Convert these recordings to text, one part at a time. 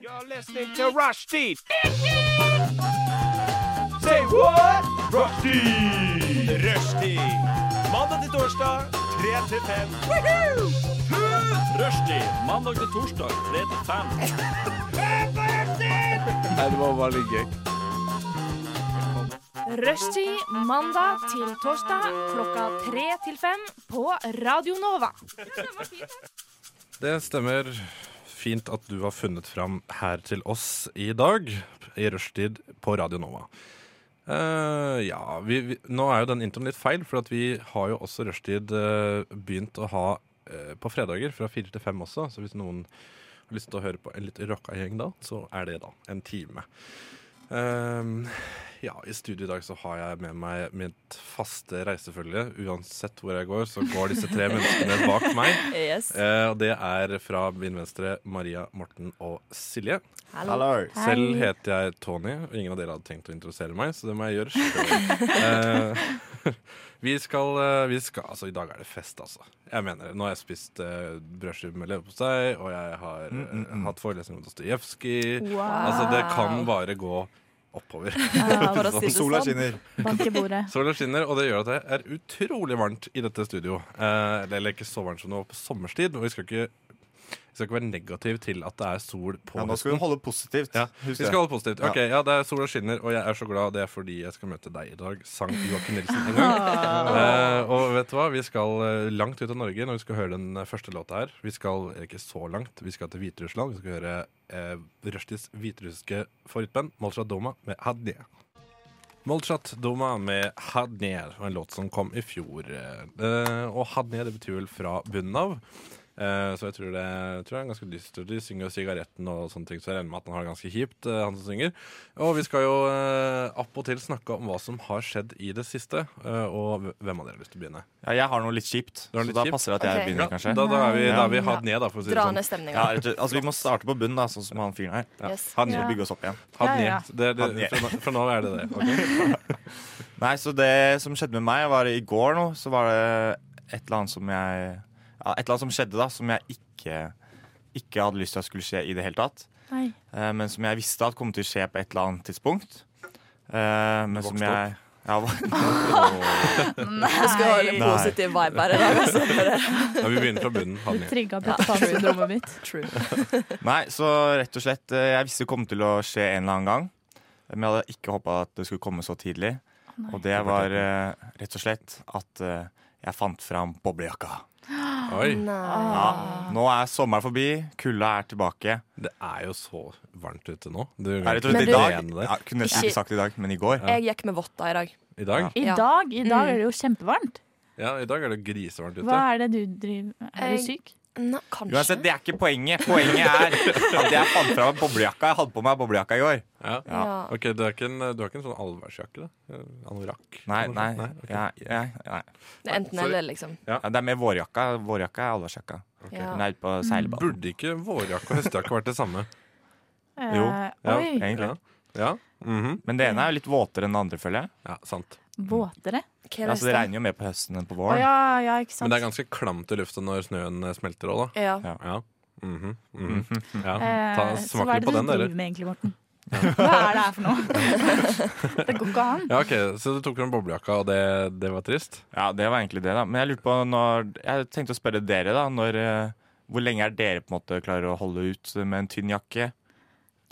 You're listening to Rushdie. Say what? Rushdie. Rushdie. Mandag til torsdag, 3 til 5. Rushdie. Mandag til torsdag, 3 til 5. Rushtid mandag til torsdag klokka tre til fem på Radio Nova. Det stemmer. Fint at du har funnet fram her til oss i dag, i rushtid på Radio Nova. Eh, ja, vi, vi, nå er jo den introen litt feil, for at vi har jo også rushtid eh, begynt å ha eh, på fredager fra fire til fem også. Så hvis noen har lyst til å høre på en litt rocka gjeng da, så er det da en time. Eh, ja, i studio i dag så har jeg med meg mitt faste reisefølge. Uansett hvor jeg går, så går disse tre menneskene bak meg. Yes. Eh, og det er fra min venstre Maria, Morten og Silje. Hallo. Selv heter jeg Tony, og ingen av dere hadde tenkt å introdusere meg, så det må jeg gjøre sjøl. Eh, vi skal, eh, vi skal Altså, i dag er det fest, altså. Jeg mener det. Nå har jeg spist eh, brødskive med leverpostei, og jeg har eh, hatt forelesning om Dostojevskij. Altså, det kan bare gå oppover. For å si Eh, det Sola sånn. skinner. Bank i bordet. Sola skinner, og det gjør at det er utrolig varmt i dette studio. Eh, eller ikke så varmt som det var på sommerstid, og vi skal ikke, vi skal ikke være negativ til at det er sol på Ja, nå høsten. skal vi holde positivt. Ja, vi Husk skal det. holde positivt. Ok, ja, det er Sola skinner, og jeg er så glad. Det er fordi jeg skal møte deg i dag, sang Joakim Nilsen en gang. Eh, og vet du hva? Vi skal eh, langt ut av Norge når vi skal høre den eh, første låta her. Vi skal eh, ikke så langt. Vi skal til Hviterussland. Vi skal høre eh, Rushdies hviterussiske favorittband Molchat Doma med Hadnir. Molchat Doma med Hadnir var en låt som kom i fjor. Eh, og Hadnir det betyr vel fra bunnen av. Eh, Så jeg tror det, tror det er ganske dystert. De synger jo 'Sigaretten' og sånne ting, så jeg regner med at han har det ganske kjipt, eh, han som synger. Og vi skal jo eh, opp og til snakke om hva som har skjedd i det siste. eh, Og hvem av dere har lyst til å begynne? Ja, jeg har noe litt kjipt, Du har noe så litt da kjipt? passer det at jeg Ok. begynner, Ja, da, kanskje. da er vi, da er vi Ja. had ned, da, for å si det Dra sånn. ned Ja, stemninga. rett og slett. altså, vi må starte på bunnen, da, sånn som han fyren her. Yes. Had ned. Og bygge oss opp igjen. Had Ja, ja. ned. Det, Had det, ned. for, nå, for nå er det det. ok? Nei, så det som skjedde med meg, var i går nå, så var det et eller annet som jeg Ja, et eller annet som skjedde, da, som jeg ikke, ikke hadde lyst til at skulle skje i det hele tatt. Nei. Eh, men som jeg visste at kom til å skje på et eller annet tidspunkt. Eh, men som Vokste jeg ja, Jeg skal holde en Nei. positiv vibe her i dag. Altså. Ja, vi begynner fra bunnen. Had ned. Trigga pappasyndromet mitt. Nei, så rett og slett eh, Jeg visste det kom til å skje en eller annen gang. Men jeg hadde ikke håpa at det skulle komme så tidlig. Og det var eh, rett og slett at eh, jeg fant fram boblejakka. Oi. Ah. Nei. Ja, nå er sommeren forbi, kulda er tilbake. Det er jo så varmt ute nå. Du, Jeg er rett og Men slett du- i dag det. ja, Kunne nesten ikke sagt i dag, men i går. Jeg gikk med votter i dag. I dag? I Ja. dag, i dag Mm. er det jo kjempevarmt. Ja, i dag er det grisevarmt Hva ute. er det du driver Er du Jeg- syk? Nei, kanskje. Uansett, det er ikke poenget. Poenget er at jeg fant fram en boblejakka. Jeg hadde på meg boblejakka i går. Ja. Ja. Ok, du, er ikke en, du har ikke en sånn allværsjakke, da? Anorakk? Nei, nei. ok. Jeg, jeg, nei. Det er enten Sorry. eller, liksom. Ja, Det er med vårjakka. Vårjakka er allværsjakka. Ja. Hun er ute på seilbanen. Burde ikke vårjakke og høstjakke vært det samme? Eh, Jo. Oi, Egentlig. Ja. Ja, mhm. Men det ene er jo litt våtere enn det andre, føler jeg. ja sant. våtere. Hva Ja, er så det resten? regner jo mer på høsten enn på Å våren. ja, ja, ikke Men sant. det er ganske klamt i lufta når snøen eh, smelter òg, da. Ja. Ja. Mhm, mhm. ja. Eh, Ta, smak så hva er litt det på du den, dere. driver med egentlig, Morten? Hva er det her for noe? Det går ikke an. Ja, ok, Så du tok fram boblejakka, og det, det var trist? Ja, det var egentlig det, da. Men jeg lurte på når Jeg tenkte å spørre dere, da. Når, eh, hvor lenge er dere på en måte klarer å holde ut med en tynn jakke?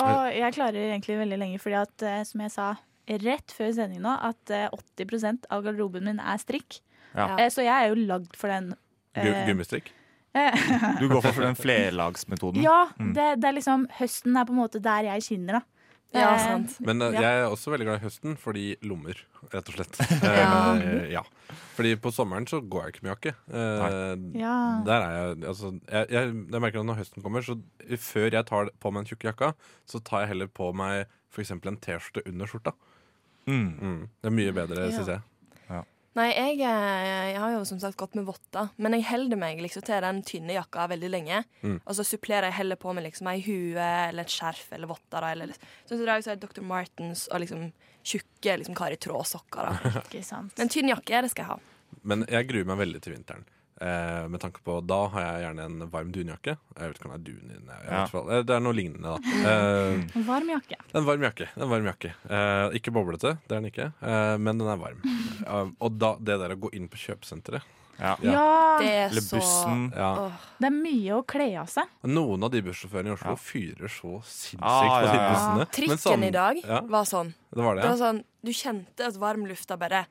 Og jeg klarer egentlig veldig lenge, fordi at eh, som jeg sa rett før sending nå, at eh, 80 av garderoben min er strikk. Ja. Eh, Så jeg er jo lagd for den. Gu eh, gummistrikk? Du går for den flerlagsmetoden. Ja, Mm. det, det er liksom Høsten er på en måte der jeg skinner, da. ja, Eh, sant. Men eh, Ja. jeg er også veldig glad i høsten fordi lommer, rett og slett. Ja. Eh, ja. Fordi på sommeren så går jeg ikke med jakke. Eh, Ja. Der er jeg, altså, jeg, jeg, jeg merker at når høsten kommer, så før jeg tar på meg en tjukk jakka, så tar jeg heller på meg for eksempel en T-skjorte under skjorta. Mm. Mm. Det er mye bedre, Ja. synes syns jeg. Nei, jeg, eh, jeg har jo som sagt gått med votter, men jeg holder meg liksom til den tynne jakka veldig lenge. Mm. Og så supplerer jeg heller på med liksom ei hue eller et skjerf eller votter. da, Eller, sånn som i dag så er det Dr. Martens og liksom tjukke liksom, kar i trådsokker. Da. Ikke sant. Men tynn jakke, det skal jeg ha. Men jeg gruer meg veldig til vinteren. Eh, Eh, med tanke på, Da har jeg gjerne en varm dunjakke. Jeg vet ikke om det er dun inni. jeg Ja. vet hva- eh, Det er noe lignende, da. Eh, Varm jakke. en varm jakke. En varm jakke. Eh, ikke boblete, det er den ikke, eh, men den er varm. Eh, og da, det der å gå inn på kjøpesenteret Ja. Ja. Ja. Det er Eller så bussen. ja. Åh. Det er mye å kle av seg. Noen av de bussjåførene i Oslo Ja. fyrer så sinnssykt Ah, på ja, de ja. bussene. Men Trikken sam- i dag Ja, var sånn. det var det. Det Ja. var sånn, Du kjente at varmlufta bare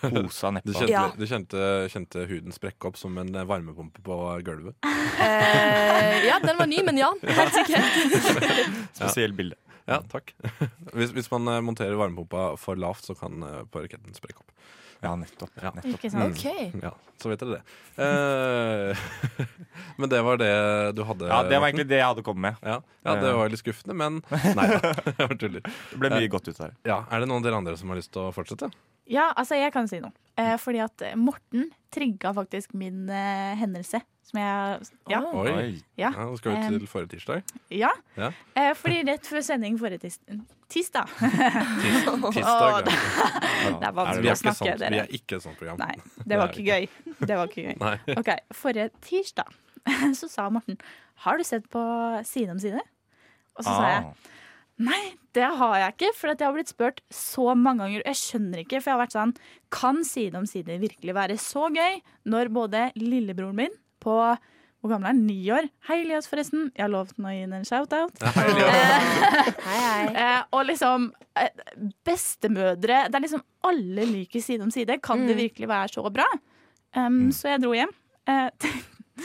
Posa Du nedpå. kjente, Ja. du kjente, kjente huden sprekke opp som en eh, varmepumpe på gulvet. eh, Ja, den var ny, men ja. Helt sikkert. Spesielt bilde. Ja, takk. Hvis, hvis man eh, monterer varmepumpa for lavt, så kan eh, paryketten sprekke opp. Ja, nettopp. Ja. nettopp. Ikke sant? Mm. Ja, Så vet dere det. Eh, men det var det du hadde? Ja, Det var egentlig Eh. det jeg hadde kommet med. ja. ja, det var litt skuffende, men Nei da, jeg bare tuller. Det ble mye godt ut der. Ja, er det noen av dere andre som har lyst til å fortsette? Ja, altså jeg kan si noe. Eh, fordi at eh, Morten trigga faktisk min eh, hendelse. Som jeg Ja. Oi. Ja, ja, da skal vi til forrige tirsdag. ja. Ja. Eh, fordi rett før sending forrige tis tirsdag Åh, Tirsdag. ja. Det Er er det- vanskelig Vi er å ikke snakke, sånt, vi dere. er ikke et sånt program. Nei, det var Det er ikke gøy. Det var ikke gøy. Nei. Ok, Forrige tirsdag så sa Morten Har du sett på Side om side? Og så sa jeg Ah, Nei, det har jeg ikke, for at jeg har blitt spurt så mange ganger. og Jeg skjønner ikke, for jeg har vært sånn Kan Side om side virkelig være så gøy når både lillebroren min på hvor gammel er han? Ni år. Hei, Elias, forresten. Jeg har lovt å gi henne en shout-out. Hei, hei. Eh, og liksom eh, Bestemødre Det er liksom alle liker Side om side. Kan Mm. det virkelig være så bra? Um, Så jeg dro hjem. eh,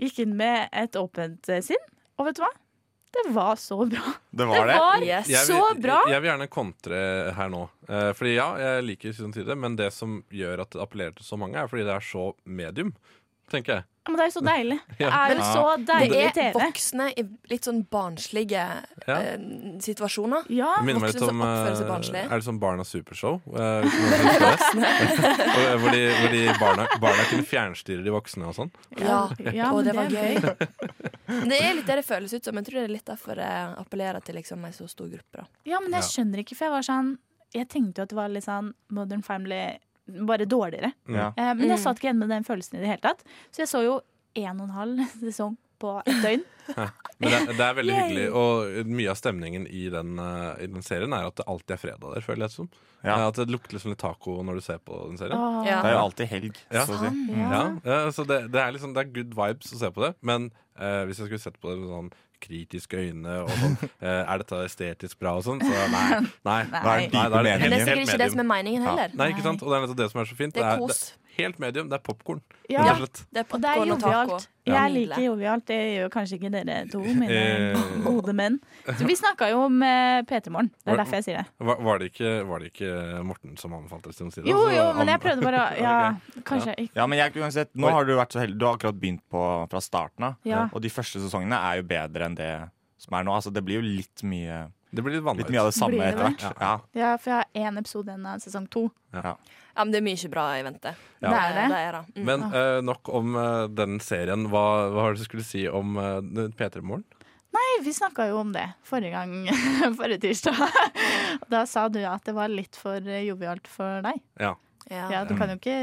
gikk inn med et åpent eh, sinn, og vet du hva? Det var så bra. det Det var det. var Yes. Jeg vil- så bra! Jeg, jeg vil gjerne kontre her nå. Eh, fordi ja, jeg liker Siden Tide, men det som gjør at det appellerer til så mange, er fordi det er så medium, tenker jeg. Men det er jo så deilig. Det Ja. er jo Ja. så Det deilig er TV. voksne i litt sånn barnslige Ja. eh, situasjoner. Ja, Det minner meg voksne litt om som oppfører seg eh, barnslig. Er det som Barnas supershow? eh, hvis noen husker det? Og, eh, hvor de, hvor de barna, barna kunne fjernstyre de voksne og sånn. Ja. ja, men og det var er- gøy. Det er litt det det føles ut som. Jeg tror det er litt derfor det appellerer til liksom en så stor gruppe. Da. Ja, men jeg Ja. skjønner ikke, for jeg var sånn Jeg tenkte jo at det var litt sånn Modern Family, bare dårligere. Ja. Eh, men jeg Mm. satt ikke igjen med den følelsen i det hele tatt. Så jeg så jo en og en halv sesong på et døgn. Men det, er- det er veldig Yay. hyggelig, og mye av stemningen i den, eh, i den serien er at det alltid er fredag der, føler jeg det som. Ja. Eh, At det lukter liksom litt taco når du ser på den serien. Åh, Ja. Det er jo alltid helg. Ja. Så å si. Ah. Ja, ja, så det, det, er liksom, det er good vibes å se på det, men eh, hvis jeg skulle sett på det med sånn kritiske øyne og sånn eh, Er dette estetisk bra og sånn? Så nei. nei. Nei. Da er det Nei, da er det- Men dype det er meninger. helt sikkert ikke det medium. som er meningen heller. Nei, ikke sant? Og det er nettopp det som er så fint. Det er det kos. er helt medium. Det er popkorn. Ja. rett og slett. Det er Og det er popcorn og taco. jovialt. Jeg Nydelig. liker jovialt. Det gjør kanskje ikke dere to, mine Eh. gode menn. Så vi snakka jo om eh, P3 Morgen. Var- Det er derfor jeg sier det. Var, var, det ikke, var det ikke Morten som anbefalte Stine Side? Jo, Så jo, an- men jeg prøvde bare å Ja, kanskje ikke Ja, men jeg, uansett, nå Oi. har du vært så heldig. Du har akkurat begynt på fra starten av. Ja. Og de første sesongene er jo bedre enn det som er nå. Altså, det blir jo litt mye, Det blir litt litt mye vanlig. av det samme Blir det etter hvert. det? Ja. Ja, for jeg har én episode igjen av sesong to. Ja, men det er mye bra i vente. Ja. Det er det. det, er det. Mm. Men eh, nok om eh, den serien. Hva, hva har du skulle si om eh, P3 Morgen? Nei, vi snakka jo om det forrige gang, forrige tirsdag. Da sa du at det var litt for eh, jovialt for deg. Ja. Ja. Ja, du kan jo ikke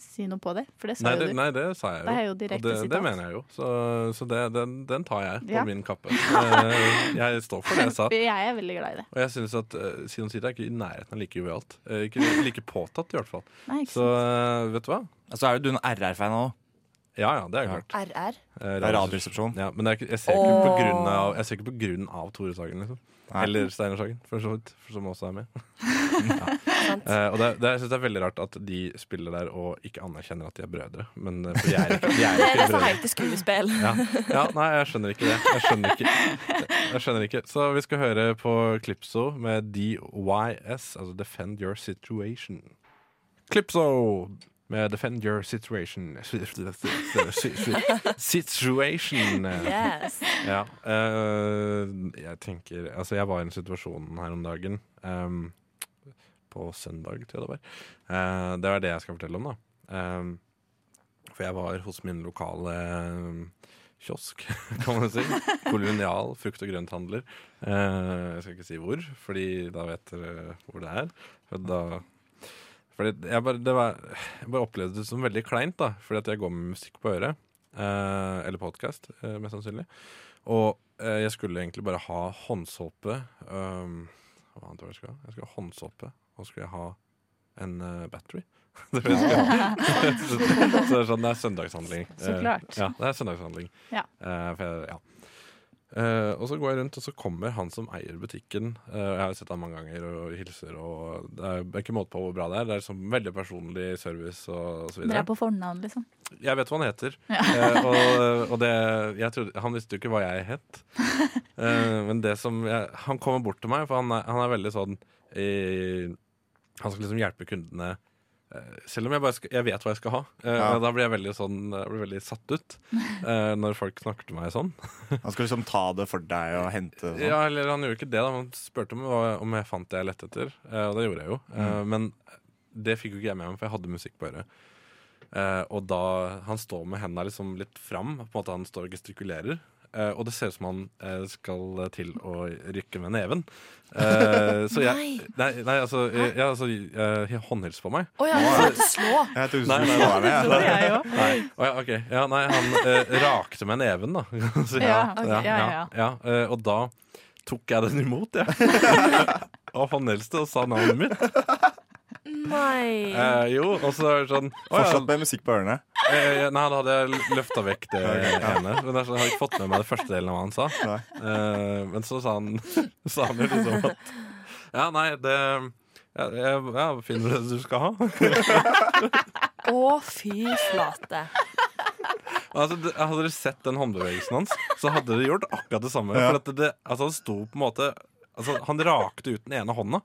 si noe på det, for det sa Nei jo det, du. nei, det sa jeg jo. Det er jo Og direkte det, det sitat. mener jeg jo. Så, så det, den, den tar jeg på Ja. min kappe. Eh, jeg står for det jeg sa. Jeg er veldig glad i det. Og jeg synes at uh, Siden Sida er ikke i nærheten av like jovialt. Eh, ikke like påtatt, i hvert fall. Nei, ikke Så sant? eh, vet du hva? Altså, er jo du en RR-fan òg. Ja ja, det er klart. RR. Eh, Det er Radioresepsjonen. Ja, men det er ikke, jeg, ser ikke på Åh. grunn av, jeg ser ikke på grunn av Tore Sagen, liksom. Nei. Eller Steinar Sagen, for så vidt, for som også er med. Sant? Eh, og det, det, jeg synes det er veldig rart at de spiller der og ikke anerkjenner at de er brødre. Men eh, for de er ikke, de er Det er ikke det som brødre. heter skuespill. Ja. ja, nei, jeg skjønner ikke det. Jeg skjønner ikke. jeg skjønner ikke Så vi skal høre på Klipso med DYS, altså Defend Your Situation. Klipso med Defend Your Situation. Situation. Yes. Ja. eh, jeg tenker Altså, jeg var i en situasjon her om dagen. ehm, på søndag, tror jeg det var. Eh, det er det jeg skal fortelle om, da. Ehm, for jeg var hos min lokale ehm, kiosk, kan man si. Kolonial frukt- og grønthandler. Eh, jeg skal ikke si hvor, Fordi da vet dere hvor det er. For da Fordi jeg bare, det var, jeg bare opplevde det som veldig kleint, da. Fordi at jeg går med musikk på øret. Eh, eller podkast, eh, mest sannsynlig. Og eh, jeg skulle egentlig bare ha håndsåpe. Um, hva annet var det jeg skulle ha? Jeg skulle ha håndsåpe, og så skulle jeg ha en eh, battery. Det var det jeg skulle ha. så, så det er sånn, det er søndagshandling. Så Eh, klart. ja, det er søndagshandling. Ja. Eh, for jeg, ja. Eh, og så går jeg rundt, og så kommer han som eier butikken. Eh, og jeg har jo sett han mange ganger og hilser, og det er det er ikke måte på hvor bra det er. Det er liksom veldig personlig service og, og så Dere videre. er på fornavn, liksom. Jeg vet hva han heter. Eh, og og det, jeg trodde, han visste jo ikke hva jeg het. Eh, men det som jeg, han kommer bort til meg, for han er, han er veldig sånn eh, Han skal liksom hjelpe kundene. eh, Selv om jeg, bare skal, jeg vet hva jeg skal ha. Eh, Ja. og Da blir jeg veldig, sånn, jeg blir veldig satt ut eh, når folk snakker til meg sånn. Han skal liksom ta det for deg og hente og sånn. Ja, eller Han gjorde ikke det, da. Han spurte om, hva- om jeg fant det jeg lette etter, eh, og det gjorde jeg jo. Eh, Mm. Men det fikk jo ikke jeg med meg, for jeg hadde musikk på øret. Eh, Og da Han står med hendene liksom litt fram, på en måte han står og gestikulerer. eh, Og det ser ut som han eh, skal til å rykke med neven. Eh, Så jeg Nei, nei altså, jeg, jeg, altså eh, jeg håndhilser på meg. Å ja, jeg måtte slå! sånn. Jeg trodde du Nei, skulle nei, slå Det ned. tror jeg jo. Nei, Å ja, ok. ja, nei han eh, rakte meg neven, da. Så, Ja, ok. Ja, ja, ja. ja, eh, og da tok jeg den imot, jeg. og han eldste og sa navnet mitt. Nei. Eh, jo, og så er det sånn å, ja, Fortsatt med musikk på ørene. eh, Nei, da hadde jeg løfta vekk det ene. Men det er sånn, jeg har ikke fått med meg det første delen av hva han sa. Nei. Eh, men så sa han, sa han jo liksom at Ja, nei, det ja, jeg, ja, finner du det du skal ha? Å, fy flate. Altså, det- hadde dere sett den håndbevegelsen hans, så hadde dere gjort akkurat det samme. Ja. For at det, altså, han sto på en måte Altså, han rakte ut den ene hånda.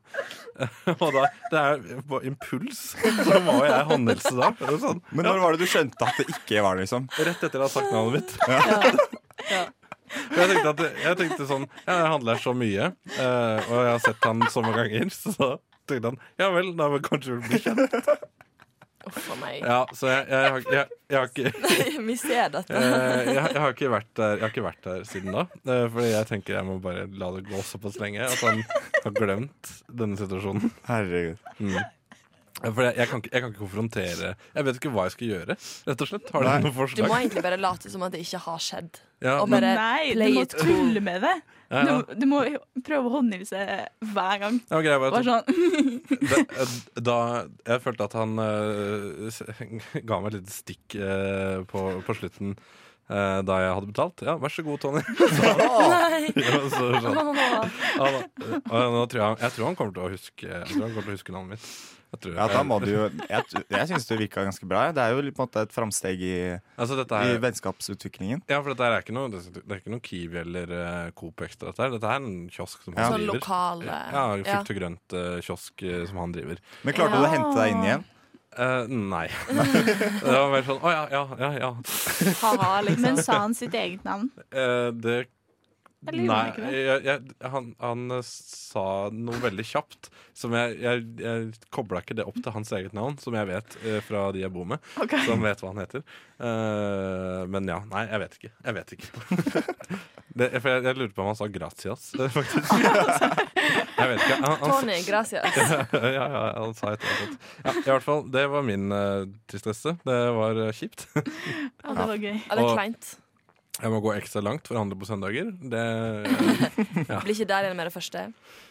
Og da, det er på impuls. Så må jeg håndhilse da. Det er Sånn, Men når var det du skjønte at det ikke var det, liksom? rett etter jeg har sagt navnet mitt. Ja. For Jeg tenkte, at, jeg tenkte sånn ja, Jeg handler så mye, eh, og jeg har sett han så mange ganger, så tenkte han ja vel, da vil kanskje vi bli kjent. Uff a meg. Ja, så jeg, jeg, har- jeg, jeg har ikke Vi ser dette. Eh, jeg, jeg, har ikke vært der, jeg har ikke vært der siden da. Eh, fordi jeg tenker jeg må bare la det gå såpass lenge at han har glemt denne situasjonen. Herregud. For jeg, jeg, kan ikke, jeg kan ikke konfrontere Jeg vet ikke hva jeg skal gjøre, rett og slett. Har Nei. dere noe Du må forslag? egentlig bare late som at det ikke har skjedd. Ja, og men, bare Nei, du play må it cool. tulle med det. ja, Du, ja. du må jo prøve å håndhilse hver gang. Ja, greia var Bare at sånn da, eh, da Jeg følte at han eh, s- ga meg et lite stikk eh, på, på slutten eh, da jeg hadde betalt. Ja, vær så god, Tony. Nei. Ja, så, sånn. Åh. Ja, da, ja, nå tror jeg, jeg tror han kommer til å huske Jeg tror han kommer til å huske navnet mitt. Jeg tror, Ja, da må du jo Jeg, jeg syns det virka ganske bra. Det er jo litt på en måte et framsteg i, altså, dette i er, vennskapsutviklingen. ja, for dette her er ikke noe, det er ikke noe Kiwi eller eh, Coop Extra. Dette, her. dette her er en kiosk som han Sånn driver. lokal eh, Ja, Frukt og grønt-kiosk eh, som han driver. Men klarte du å hente deg inn igjen? Eh, nei. det var mer sånn Å ja, ja, ja. ja. ha-ha, liksom. Men sa han sitt eget navn? Eh, det Eller gjorde Nei, han ikke det? jeg, jeg, han, han eh, sa noe veldig kjapt. Som jeg, jeg, jeg kobla ikke det opp til hans eget navn, som jeg vet eh, fra de jeg bor med. Ok. Som vet hva han heter. Eh, men ja, nei, jeg vet ikke. Jeg vet ikke. det, for jeg, jeg lurte på om han sa 'gracias', eh, faktisk. jeg vet ikke. Han, han, sa- Tony, gracias. ja, ja, ja, han sa et eller annet. Ja, I hvert fall, det var min eh, tristesse. Det var eh, kjipt. Å, det var gøy. Ja, det er Og- kleint. Jeg må gå ekstra langt for å handle på søndager. Det, Blir ikke der igjen med det første.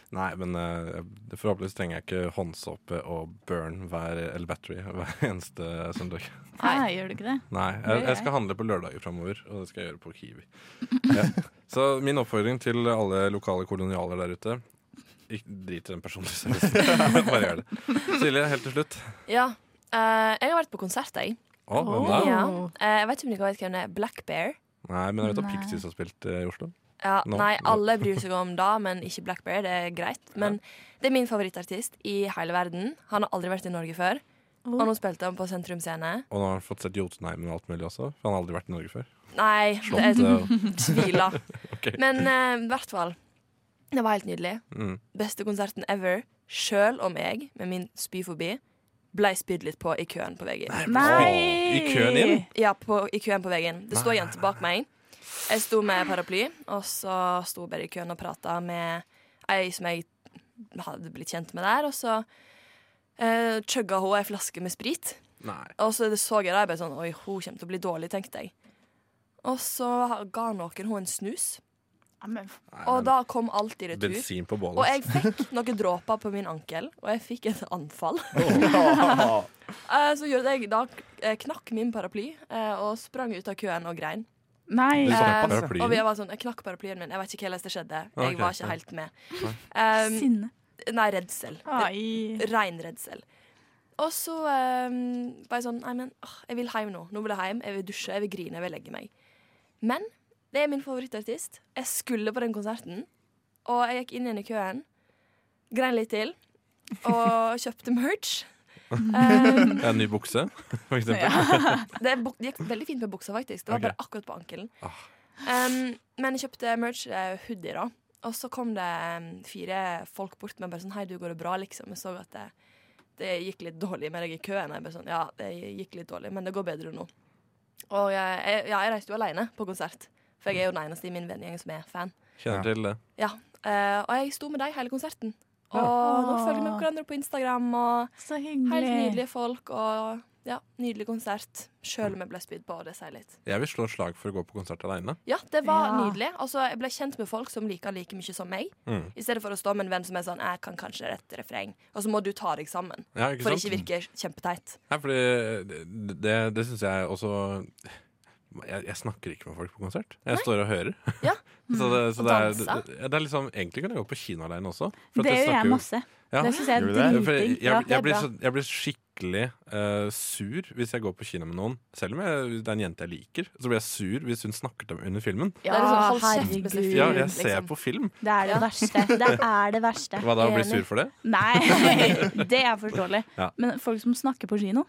nei, men eh, forhåpentligvis trenger jeg ikke håndsåpe og burn hver, eller battery hver eneste søndag. Nei, gjør du ikke det? Nei, jeg, Det gjør jeg skal handle på lørdager framover, og det skal jeg gjøre på Kiwi. Ja. Så min oppfordring til alle lokale kolonialer der ute ikke Drit i den personlige servicen. Bare gjør det. Silje, helt til slutt. Ja. eh, jeg har vært på konsert, jeg. Å, hvem da? Ja. Eh, jeg vet ikke om dere vet hvem det er. Black Bear. Nei, men jeg vet at Nei. Pixies har spilt eh, i Oslo. Ja, Nå. Nei, alle bryr seg om da, men ikke Black Bear. Det er greit. Men det er min favorittartist i hele verden. Han har aldri vært i Norge før. Og nå spilte han på Sentrum Scene. Og nå har han fått sett Jotunheimen og alt mulig også. For han har aldri vært i Norge før. Nei, det er Slottet og tvila. Ok. Men eh, i hvert fall. Det var helt nydelig. mm. Beste konserten ever. Sjøl om jeg, med min spyfobi, blei spydd litt på i køen på veien. Å, I køen inn? Ja, på, i køen på veien. Det sto ei jente bak meg. Jeg sto med paraply, og så sto jeg bare i køen og prata med ei som jeg hadde blitt kjent med der. Og så eh, chugga hun ei flaske med sprit. Nei. Og så så jeg det, jeg bare sånn Oi, hun kommer til å bli dårlig, tenkte jeg. Og så ga noen hun en snus, Ja, men f- Nei, og men da kom alt i retur. Bensin på bålet. Og jeg fikk noen dråper på min ankel, og jeg fikk et anfall. Eh, Så gjorde jeg da eh, knakk min paraply eh, og sprang ut av køen og grein. Nei. Du Eh, snakket om og vi paraplyen. var sånn, Jeg knakk paraplyen min. Jeg vet ikke hvordan det skjedde. Ah, ok. Jeg var ikke helt med. Eh, Sinne. nei, redsel. Ai. Rein redsel. Og så eh, var jeg sånn Nei, men åh, jeg vil hjem nå. Nå vil jeg hjem. Jeg vil dusje, jeg vil grine, jeg vil legge meg. Men det er min favorittartist. Jeg skulle på den konserten, og jeg gikk inn igjen i køen. Grein litt til. Og kjøpte merch. Um, En ny bukse, for eksempel. Det buk- det gikk veldig fint med buksa, faktisk. Det var Ok. bare akkurat på ankelen. Ah. Um, men jeg kjøpte merch eh, hoodie, da. Og så kom det um, fire folk bort med bare sånn Hei, du, går det bra, liksom? Jeg så at det, det gikk litt dårlig med deg i køen. Jeg bare sånn Ja, det gikk litt dårlig, men det går bedre nå. Og jeg, jeg, ja, jeg reiste jo alene på konsert, for jeg er jo den eneste i min vennegjeng som er fan. Kjenner til det. Ja, eh, Og jeg sto med deg hele konserten. Og nå følger vi med hverandre på Instagram. og... Så Helt hyggelig. nydelige folk og ja, nydelig konsert. Sjøl om jeg ble spydd på, og det sier litt. Jeg vil slå et slag for å gå på konsert aleine. Ja, det Ja. var nydelig. Altså, jeg ble kjent med folk som liker like mye som meg. Mm. I stedet for å stå med en venn som er sånn 'Jeg kan kanskje rett refreng', og så må du ta deg sammen. Ja, ikke For sant? ikke virke kjempeteit. Nei, fordi det, det, det syns jeg også jeg, jeg snakker ikke med folk på konsert. Jeg står og hører. Ja. så det, så Og det, er, danser. det, det er liksom, Egentlig kan jeg gå på kino alene også. for at Det gjør snakker jeg jo- masse. Ja. Det syns jeg Gjør er du det? Ja, for jeg, dritdigg. Ja. jeg, jeg, blir bra. så, jeg blir skikkelig eh, sur hvis jeg går på kino med noen. Selv om jeg, det er en jente jeg liker, så blir jeg sur hvis hun snakker til meg under filmen. det er liksom, hold kjeft herregud. med slefsen, Ja, jeg ser liksom. på film. Det er det verste. Det er det verste. Hva da, å bli Enig. sur for det? Nei, det er forståelig. Ja. Men folk som snakker på kino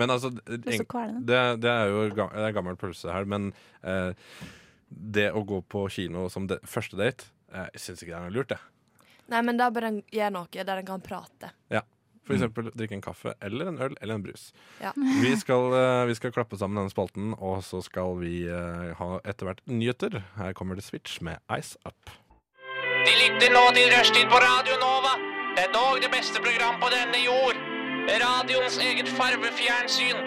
Men altså, blir så egentlig kvelende. Det, det er jo ga- det er gammel pølse her, men eh, det å gå på kino som det, første date eh, Jeg syns ikke det er noe lurt, jeg. Nei, men da bør en gjøre noe der en kan prate. For eksempel drikke en kaffe eller en øl eller en brus. Ja. Vi, skal, eh, vi skal klappe sammen denne spalten, og så skal vi eh, ha etter hvert nyheter. Her kommer The Switch med Ice Up. De lytter nå til Rushtid på Radio Nova. Det er dog det beste program på denne jord. Radioens eget farvefjernsyn.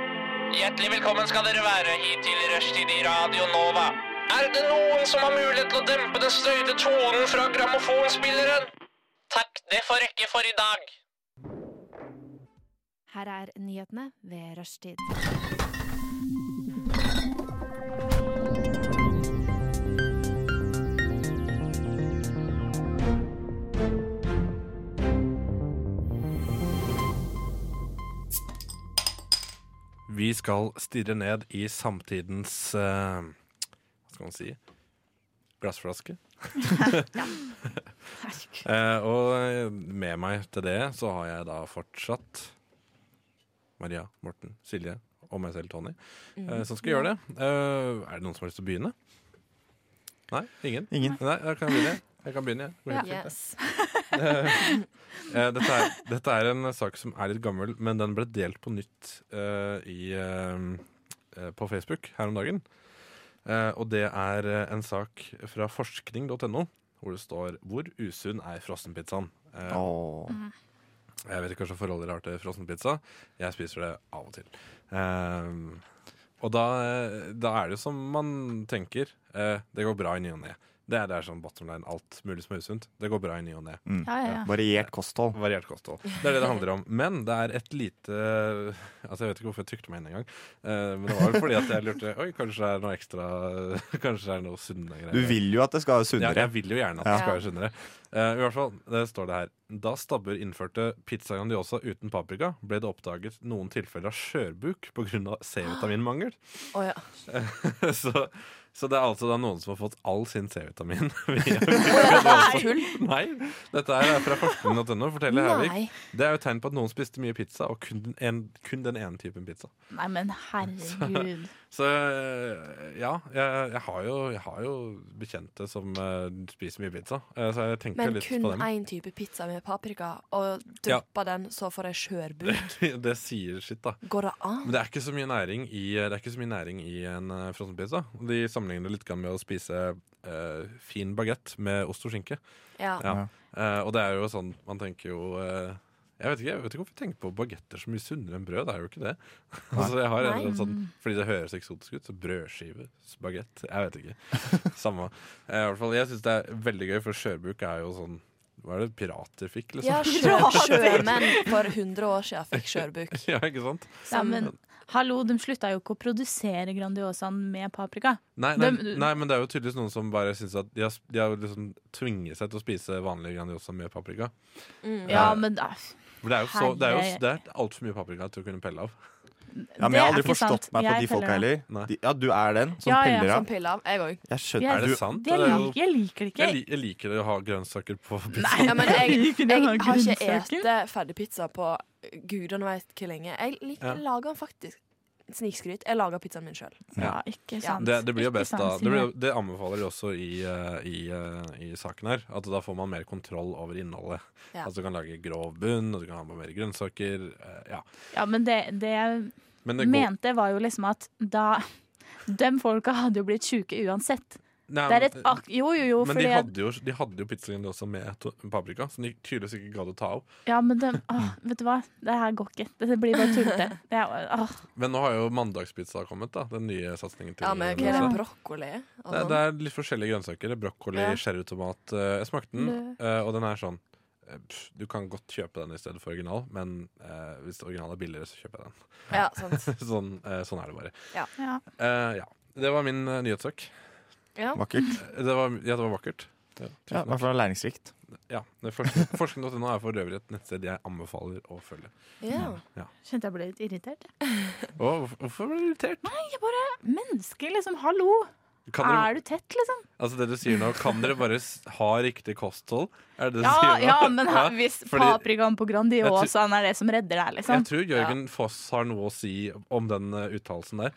Hjertelig velkommen skal dere være hit til Rushtid i Radio Nova. Er det noen som har mulighet til å dempe den støyte tonen fra grammofonspilleren? Takk, det får rekke for i dag. Her er nyhetene ved rushtid. Vi skal stirre ned i samtidens eh, Hva skal man si? Glassflaske. Eh, og eh, med meg til det så har jeg da fortsatt Maria, Morten, Silje og meg selv, Tony, eh, som skal gjøre det. Eh, er det noen som har lyst til å begynne? Nei? Ingen? Ingen. Nei, da kan jeg begynne. Jeg kan begynne, jeg. Går helt fint, det. Yes. Eh, dette, er, dette er en sak som er litt gammel, men den ble delt på nytt eh, i, eh, eh, på Facebook her om dagen. Eh, og det er eh, en sak fra forskning.no, hvor det står 'Hvor usunn er frossenpizzaen?' Eh, Åh. Jeg vet ikke hva slags forhold dere har til frossenpizza. Jeg spiser det av og til. Ehm, og da, eh, da er det jo som man tenker. Eh, det går bra i ny og ne. Det er, det er sånn bottom line. Alt mulig som er usunt. Det går bra i ny og ne. Ja, ja, ja. mm. Variert kosthold. Variert kosthold. Det er det det handler om. Men det er et lite Altså Jeg vet ikke hvorfor jeg trykte meg inn engang. Eh, men det var vel fordi at jeg lurte Oi, kanskje det er noe ekstra Kanskje det er noe sunne greier. Du vil jo at det skal være ja, sunnere. jeg vil jo gjerne at det Ja. skal være sunnere. Eh, I hvert fall, det står det her. Da Stabber innførte pizza grandiosa uten paprika, ble det oppdaget noen tilfeller av skjørbuk pga. C-vitaminmangel. Å, ja. så, så det er altså da noen som har fått all sin C-vitamin via Nei. grandiosa. Nei! Dette her er fra forskning.no, forteller Hervik. Nei. Det er jo et tegn på at noen spiste mye pizza, og kun den, en, kun den ene typen pizza. Nei, men herregud. Så øh, ja, jeg, jeg, har, jo, jeg har jo bekjente som øh, spiser mye pizza, eh, så jeg tenker Men litt kun på dem. én type pizza med paprika, og Ja. droppa den, så får jeg skjørbuk. det sier sitt, da. Går det an? Men det er ikke så mye næring i, det er ikke så mye næring i en eh, frossenpizza. De sammenligner det litt grann med å spise eh, fin bagett med ost og skinke. Ja. Ja. Eh, og det er jo sånn, man tenker jo eh, Jeg vet ikke, jeg vet ikke hvorfor jeg tenker på bagetter så mye sunnere enn brød. Det er jo ikke det. Altså, jeg har en eller annen sånn, fordi det høres eksotisk ut. Så brødskive, bagett Jeg vet ikke. Samme. Eh, i hvert fall, jeg syns det er veldig gøy, for skjørbuk er jo sånn Hva er det pirater fikk, Ja, liksom? sjø- sjømenn for 100 år siden fikk skjørbuk. Ja, ikke sant? Ja, men hallo, de slutta jo ikke å produsere Grandiosaen med paprika. Nei, nei, Dem- nei, men det er jo tydeligvis noen som bare syns at de har, de har liksom tvinget seg til å spise vanlig Grandiosa med paprika. Ja, Ja. men ah, da, For det er jo så, det er jo Herre- det er altfor mye paprika til å kunne pelle av. Ja, Det men jeg har er aldri ikke sant. forstått meg på Jeg de folka peller det. heller. Nei. De, ja, du er den som Ja, ja, peller Som av. piller av. Jeg òg. Jeg Ja, skjønner Er du, det sant? jeg, Det er jo- liker, jeg liker det ikke. Jeg, lik- jeg liker å ha grønnsaker på pizza. Ja, men jeg, liker jeg den har her ikke grønnsaken. ete ferdig pizza på gudene veit hvor lenge. Jeg liker Ja. lager den faktisk. Snikskryt. Jeg lager pizzaen min sjøl. Ja, ikke sant. Det, det blir jo Ikke best sant, da Det, Simen. blir, jo- det anbefaler de også i, eh, i, eh, i saken her. At da får man mer kontroll over innholdet. Ja. Altså Du kan lage grov bunn, og du kan ha på mer grønnsaker. eh, ja. Ja, men det, det jeg Men det går mente, var jo liksom at da De folka hadde jo blitt sjuke uansett. Nei, Det er et men- eh, ak... Jo, jo, jo, Men fordi de at- hadde jo, de hadde jo pizzaen også med to- paprika, som de tydeligvis ikke gadd å ta av. Ja, men det, åh, vet du hva? Det her går ikke. Det blir bare tullete. Det er- åh. Men nå har jo mandagspizza kommet, da. Den nye satsingen til eh, Ja, men hva er det? Brokkoli? og Det, sånn? det er litt forskjellige grønnsaker. Brokkoli, Ja. sherrytomat. eh, Jeg smakte den, eh, og den er sånn eh, pff, Du kan godt kjøpe den i stedet for original, men eh, hvis original er billigere, så kjøper jeg den. Ja, sant. sånn, eh, sånn er det bare. Ja. Eh, ja. Det var min uh, nyhetssak. Ja. Vakkert. Eh, Det var, ja, det var vakkert. Ja, Ja, I tusen takk. hvert fall læringsrikt. ja, det er forskning- Forskning.no er for øvrig et nettsted jeg anbefaler å følge. Ja. Kjente jeg ble litt irritert. Og hvorfor- hvorfor ble du irritert? Mennesker, liksom. Hallo! Kan dere, Er du tett, liksom? altså det du sier nå, kan dere bare s- ha riktig kosthold? Er det det du Ja, sier nå? ja men Ja. her, liksom- hvis fordi- paprikaen på Grandiosaen er det som redder deg, liksom. Jeg tror Jørgen Foss har noe å si om den eh, uttalelsen der.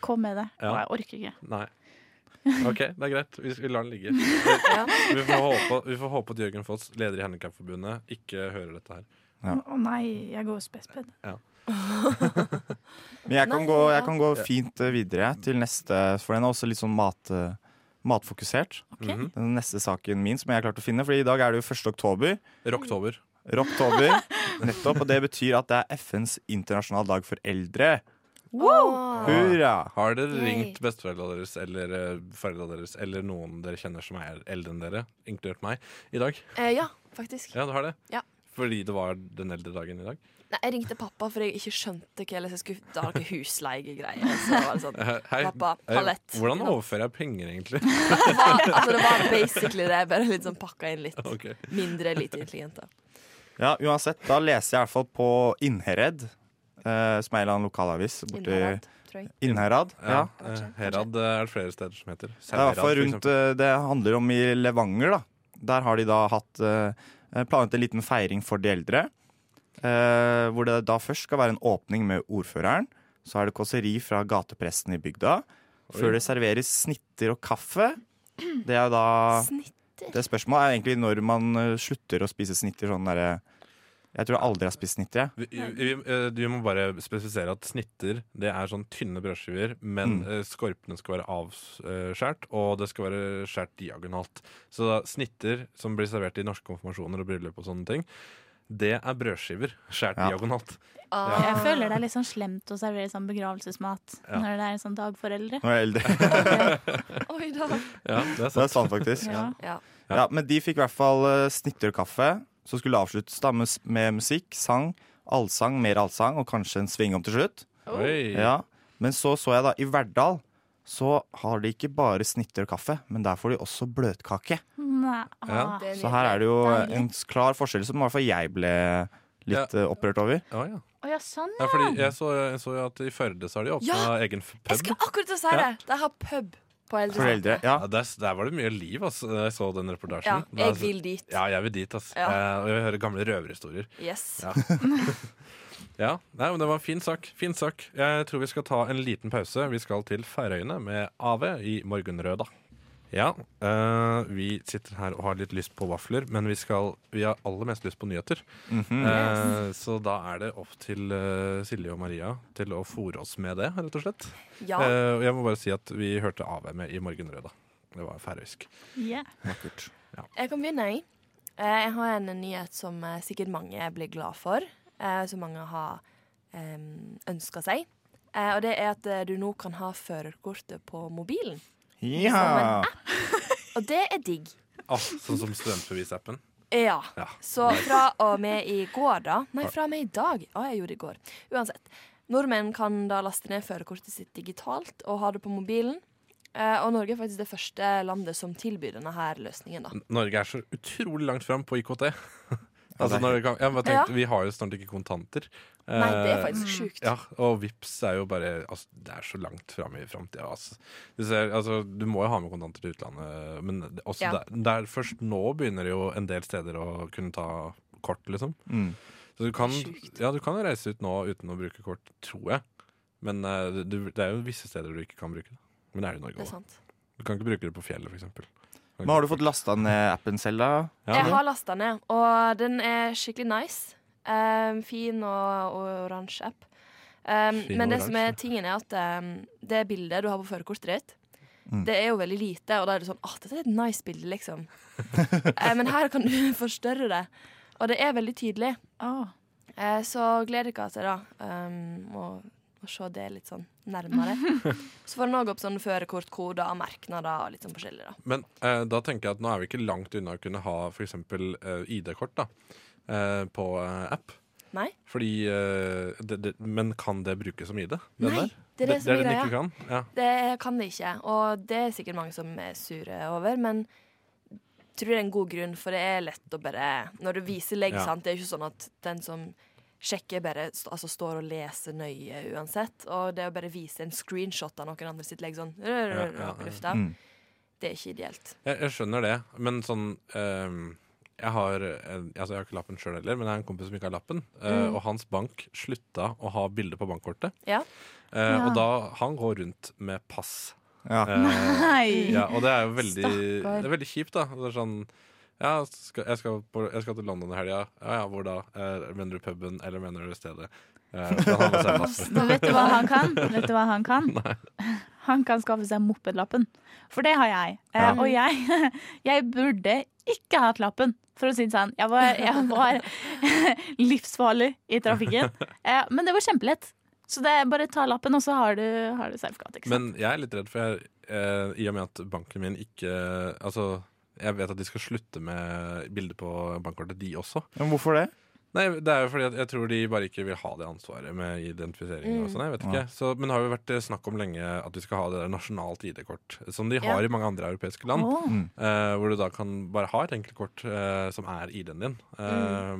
Kom med det. Ja. Å, jeg orker ikke. Nei. OK, det er greit. Vi, vi lar den ligge. Vi, vi, får håpe, vi får håpe at Jørgen Foss, leder i Handikapforbundet, ikke hører dette her. Å nei, jeg går spespedd. Men jeg kan, Nei, gå, jeg ja. kan gå fint eh, videre til neste, for den er også litt sånn mat, eh, matfokusert. Mhm. Den neste saken min som jeg har klart å finne, for i dag er det jo 1. oktober. Rocktober. Rocktober. Nettopp, og det betyr at det er FNs internasjonale dag for eldre. Wow! Hurra! Har dere Yay. ringt besteforeldra deres eller eh, foreldra deres eller noen dere kjenner som er eldre enn dere, inkludert meg, i dag? Eh, ja, faktisk. Ja, du har det? Ja. Fordi det var den eldre dagen i dag? Nei, jeg ringte pappa fordi jeg ikke skjønte hva jeg skulle Da har dere husleiegreier. Så var det sånn. Eh, Hei, Pappa, eh, palett. Hvordan overfører jeg penger, egentlig? Altså, det var basically det. Bare litt sånn pakka inn litt. Ok. Mindre lite intelligent, da. Ja, uansett, da leser jeg i hvert fall på Innherred, eh, som er en eller annen lokalavis borti Innherad, tror jeg. Innherad. Ja. Ja, eh, Herad eh, er det flere steder som heter. Det er i hvert fall Sauherad, for rundt eksempel. eh, Det handler om i Levanger, da. Der har de da hatt eh, planlagt en liten feiring for de eldre. eh, hvor det da først skal være en åpning med ordføreren. Så er det kåseri fra gatepresten i bygda. Før det serveres snitter og kaffe. Det er jo da Det spørsmålet er egentlig når man eh, slutter å spise snitter sånn derre Jeg tror jeg aldri har spist snitter, jeg. Vi, vi, eh, du må bare spesifisere at snitter det er sånn tynne brødskiver, men eh, skorpene skal være avskjært, og det skal være skjært diagonalt. Så da, snitter som blir servert i norske konfirmasjoner og bryllup og sånne ting, det er brødskiver skjært Ja. diagonalt. Ah, Jeg føler det er litt sånn slemt å servere sånn begravelsesmat Ja. når det er en sånn dag for eldre. Nå er jeg eldre. Oi da. Ja, det er Det er sant. sant, faktisk. Ja. Ja. Ja, men de fikk i hvert fall eh, snitter og kaffe. Så skulle det avsluttes da med, s- med musikk, sang, allsang, mer allsang og kanskje en svingom til slutt. Oi. Ja. Men så så jeg da i Verdal så har de ikke bare snitter og kaffe, men der får de også bløtkake. Nei. Ja. ah. Det er Så her er det jo Deilig. en s- klar forskjell som i hvert fall jeg ble litt eh, opprørt over. Å, ja. Å ja, sånn. Ja, fordi jeg så, jeg så jo at i Førde så har de åpna Ja, egen f- Jeg pub. skulle akkurat til å si det! De har pub på For eldre. eldre. Ja. Ja, der, der var det mye liv, altså. da Jeg så den reportasjen. Ja, Det er jeg altså- vil dit. Ja, jeg vil dit, ass. Ja. Eh, og jeg vil høre gamle røverhistorier. Yes. Ja. ja. Nei, men det var en fin sak. Fin sak. Jeg tror vi skal ta en liten pause. Vi skal til Færøyene med AV i morgenrøda. Ja, eh, vi sitter her og har litt lyst på vafler, men vi, skal, vi har aller mest lyst på nyheter. Eh, Så da er det opp til eh, Silje og Maria til å fòre oss med det, rett og slett. Ja. Eh, og jeg må bare si at vi hørte AV med i morgenrøda. Det var færøysk. Yeah. Jeg kan begynne, jeg. Eh, Jeg har en nyhet som eh, sikkert mange blir glad for, eh, som mange har eh, ønska seg. Eh, Og det er at eh, du nå kan ha førerkortet på mobilen. Ja. Og det er digg. Ah, sånn som studentbevisappen. Ja. Ja. Så fra og med i går, da Nei, fra og med i dag. Å, jeg gjorde det i går. Uansett. Nordmenn kan da laste ned førerkortet sitt digitalt og ha det på mobilen. Eh, Og Norge er faktisk det første landet som tilbyr denne her løsningen, da. Norge er så utrolig langt fram på IKT. altså, det er når vi, kan, ja, men jeg tenkte, Ja. Vi har jo snart ikke kontanter. Nei, det er Eh, faktisk sjukt. Ja, og VIPS er jo bare altså, Det er så langt fram i framtida. Altså. Du, ser, altså, du må jo ha med kontanter til utlandet, men det- også Ja. der, der først nå begynner det jo en del steder å kunne ta kort, liksom. Mm. Så du kan, Sjukt. ja, du kan jo reise ut nå uten å bruke kort, tror jeg. Men eh, det- du, det er jo visse steder du ikke kan bruke det. Men det er det i Norge Det er òg. sant. Du kan ikke bruke det på fjellet, f.eks. Men har du fått lasta ned appen selv, da? Ja, Jeg har lasta ned, og den er skikkelig nice. Ehm, fin og, og oransje app. Ehm, Fin men og det som er oransje. tingen er at ehm, det bildet du har på førerkortet ditt, Mm. det er jo veldig lite, og da er det sånn Åh, dette er et nice bilde, liksom. Eh, men her kan du forstørre det. Og det er veldig tydelig. Åh. Eh, så gled dere til det, da. ehm, og, og se det litt sånn nærmere. så får en òg opp sånne førerkortkoder og merknader og litt sånn forskjellig, da. Men eh, da tenker jeg at nå er vi ikke langt unna å kunne ha f.eks. Eh, ID-kort da eh, på eh, app. Nei? Fordi, eh, det, det, Men kan det brukes som ID? den Nei, der? det er det som er den greia. ikke kan? Ja. Det kan det ikke, og det er sikkert mange som er sure over, men jeg tror det er en god grunn, for det er lett å bare Når du viser legg, Ja. sant, det er ikke sånn at den som sjekker, bare st- altså, står og leser nøye uansett. Og det å bare vise en screenshot av noen andre sitt legg sånn ja, ja. opp i lufta, Mm. det er ikke ideelt. Jeg, jeg skjønner det, men sånn ehm, jeg, har, en- altså jeg har ikke lappen sjøl heller, men jeg har en kompis som ikke har lappen. eh, Og hans bank slutta å ha bilde på bankkortet. Mm. Ja. Eh, Ja. Og da han går rundt med pass. Ja. Eh, Nei. Ja, og det er jo veldig, Stakkar. det er veldig kjipt, da. Det er sånn ja, skal, jeg, skal på, jeg skal til London i helga. Ja, ja, hvor da? Eh, mener du puben, eller mener du stedet? Eh, skal han ha med seg pass? Men vet du hva han kan? Vet du hva Han kan Han kan skaffe seg mopedlappen. For det har jeg. Eh, Ja. Og jeg, jeg burde ikke hatt lappen, for å si det sånn. Jeg var, jeg var livsfarlig i trafikken. Eh, men det var kjempelett. Så det er bare ta lappen, og så har du, har du selfcat. Ikke sant? Men jeg er litt redd, for jeg, eh, i og med at banken min ikke Altså, jeg vet at de skal slutte med bilder på bankkortet, de også. Men hvorfor det? Nei, det er jo fordi at jeg tror de bare ikke vil ha det ansvaret med identifisering og sånn. jeg vet ikke. Ja. Så, men det har jo vært eh, snakk om lenge at vi skal ha det der nasjonalt ID-kort, som de Ja. har i mange andre europeiske land. Åh. Eh, hvor du da kan bare ha et enkelt kort eh, som er ID-en din. Eh,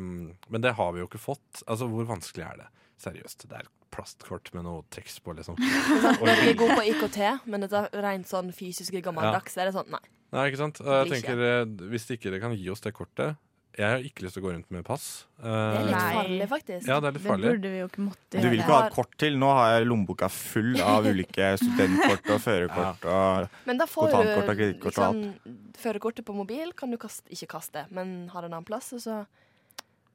Men det har vi jo ikke fått. Altså, hvor vanskelig er det? Seriøst. Det er et plastkort med noe tekst på, liksom. Nå er sånn, vi gode på IKT, men dette er rent sånn fysiske gammeldags, så er det sånn nei. Nei, ikke sant? Og jeg Det blir tenker, eh, Hvis ikke dere kan gi oss det kortet Jeg har ikke lyst til å gå rundt med pass. Eh, Det er litt Nei. farlig, faktisk. Ja, det er litt Det farlig. burde vi jo ikke måtte Du vil gjøre. ikke ha et kort til? Nå har jeg lommeboka full av ulike studentkort og førerkort. Og Men da får du Kontantkort og kredittkort og liksom, førerkortet på mobil, kan du kaste, ikke kaste, men har en annen plass, og så